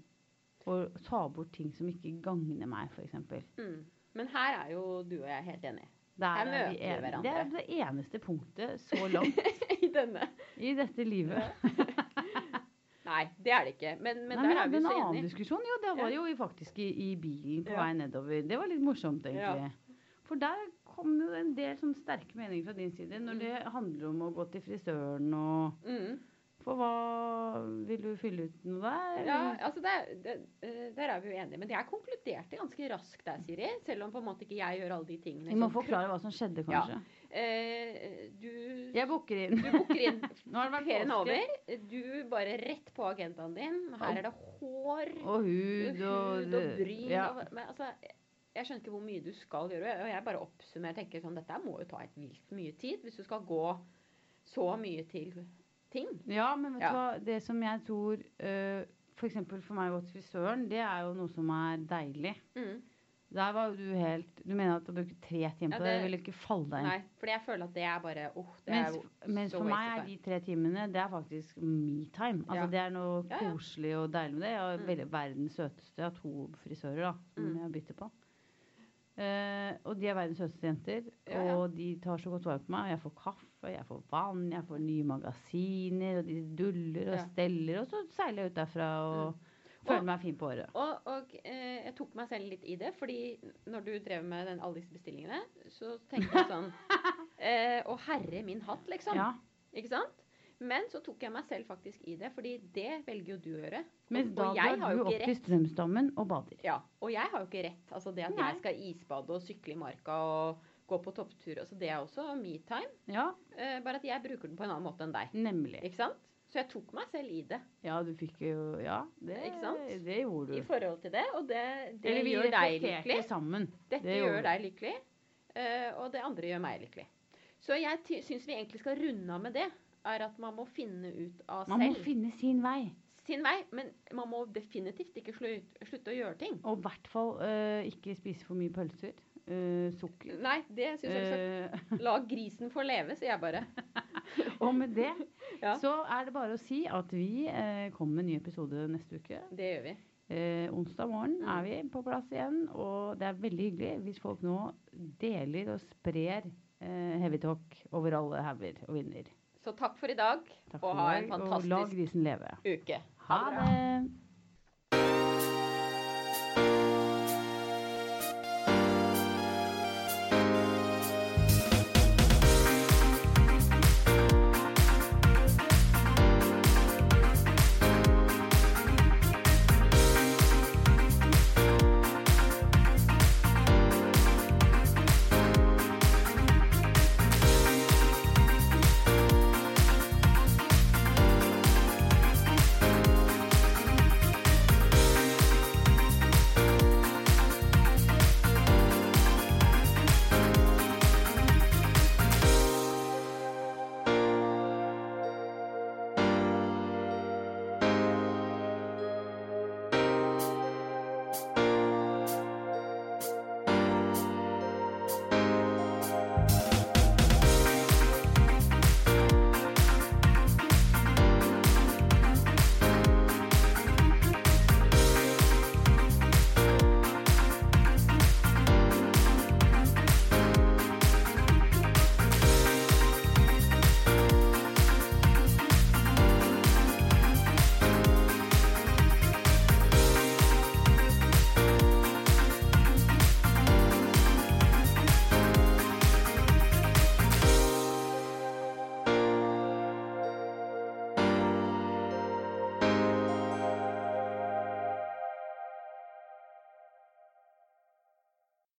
Og ta bort ting som ikke gagner meg, f.eks.
Mm. Men her er jo du og jeg helt enige. Her
Der er vi
møter vi
enige. Det er
hverandre.
det eneste punktet så langt
I denne.
i dette livet.
Nei, det er det ikke. Men, men
Nei,
der
men
er
hadde
vi
en
så
annen
enige.
diskusjon. Jo, det var
Ja.
jo i- faktisk i, i bilen på
Ja.
vei nedover. Det var litt morsomt, egentlig. For der kom jo en del sånn sterke meninger fra din side når
Mm.
det handler om å gå til frisøren og
Mm.
For hva Vil du fylle ut noe der?
Ja,
eller?
altså det, er- det, eh, Der er vi jo enige. Men jeg konkluderte ganske raskt der, Siri. Selv om på en måte ikke jeg gjør alle de tingene.
Vi må
som-
forklare hva som skjedde,
Ja.
kanskje.
Eh, du
Jeg booker inn.
du booker inn
Nå har det vært
ferien er
påske.
over. Du bare rett på agendaen din. Her er det hår,
Og hud og,
hud og bryn
Ja.
og, Men altså, jeg skjønner ikke hvor mye du skal gjøre. Og jeg bare oppsummerer tenker sånn Dette her må jo ta et vilt mye tid hvis du skal gå så mye til ting.
Ja, men vet du
Ja.
hva, det som jeg tror eh, For eksempel for meg å gå til frisøren, det er jo noe som er deilig.
Mm.
Der var jo du helt Du mener at å bruke tre timer
Ja,
på det,
det-
ville ikke falle deg
Nei,
inn.
fordi jeg føler at det er bare åh, det
Mens,
er jo
mens
så
for meg
wasted
er de tre timene det er faktisk me time. Altså
Ja.
Det er noe
Ja, ja.
koselig og deilig med det. Jeg har
Mm.
veldig verdens søteste. Jeg har to frisører da som jeg
Mm.
bytter på. Eh, og de er verdens søteste jenter.
Ja, ja.
Og de tar så godt vare på meg. Og jeg får kaffe, jeg får vann, jeg får nye magasiner. Og de duller og
Ja. Mm.
steller. Og så seiler jeg ut derfra og
Og-
føler meg fin på håret.
Og, og eh, jeg tok meg selv litt i det, fordi når du drev med den, alle disse bestillingene, så tenkte jeg sånn eh, Å, herre min hatt, liksom.
Ja.
Ikke sant? Men så tok jeg meg selv faktisk i det, fordi det velger jo du å gjøre.
Mens
og
da
jeg
drar
har
du
jo
opp
ikke
til Strømsdammen og bader.
Ja, og jeg har jo ikke rett. Altså det at
Nei.
jeg skal isbade og sykle i marka og gå på topptur, altså det er også me-time.
Ja,
Eh, bare at jeg bruker den på en annen måte enn deg.
nemlig.
Ikke sant? Så jeg tok meg selv i det
Ja, du fikk jo Ja, det,
Ikke sant?
det gjorde
i
du.
forhold til det, og det, det
Eller vi
gjør deg
reflekterte
lykkelig.
sammen.
Dette
Det
gjør
gjorde
deg lykkelig, eh, og det andre gjør meg lykkelig. Så jeg syns vi egentlig skal runde av med det. Er at man må finne ut av
Man må
selv
finne sin vei.
sin vei. Men man må definitivt ikke slutte, slutte å gjøre ting.
Og i hvert fall eh, ikke spise for mye pølser. eh, sukker.
Nei, det syns jeg vi skal La grisen få leve, sier jeg bare.
Eh, og med det
Ja.
så er det bare å si at vi eh, kommer med en ny episode neste uke.
Det gjør vi.
Eh, onsdag morgen
Mm.
er vi på plass igjen, og det er veldig hyggelig hvis folk nå deler og sprer eh, Heavy Talk over alle hauger og vinder.
Så takk for i dag,
Takk
og
for
ha
i
en
dag, og la
fantastisk
grisen leve.
uke.
Ha
det bra.
det!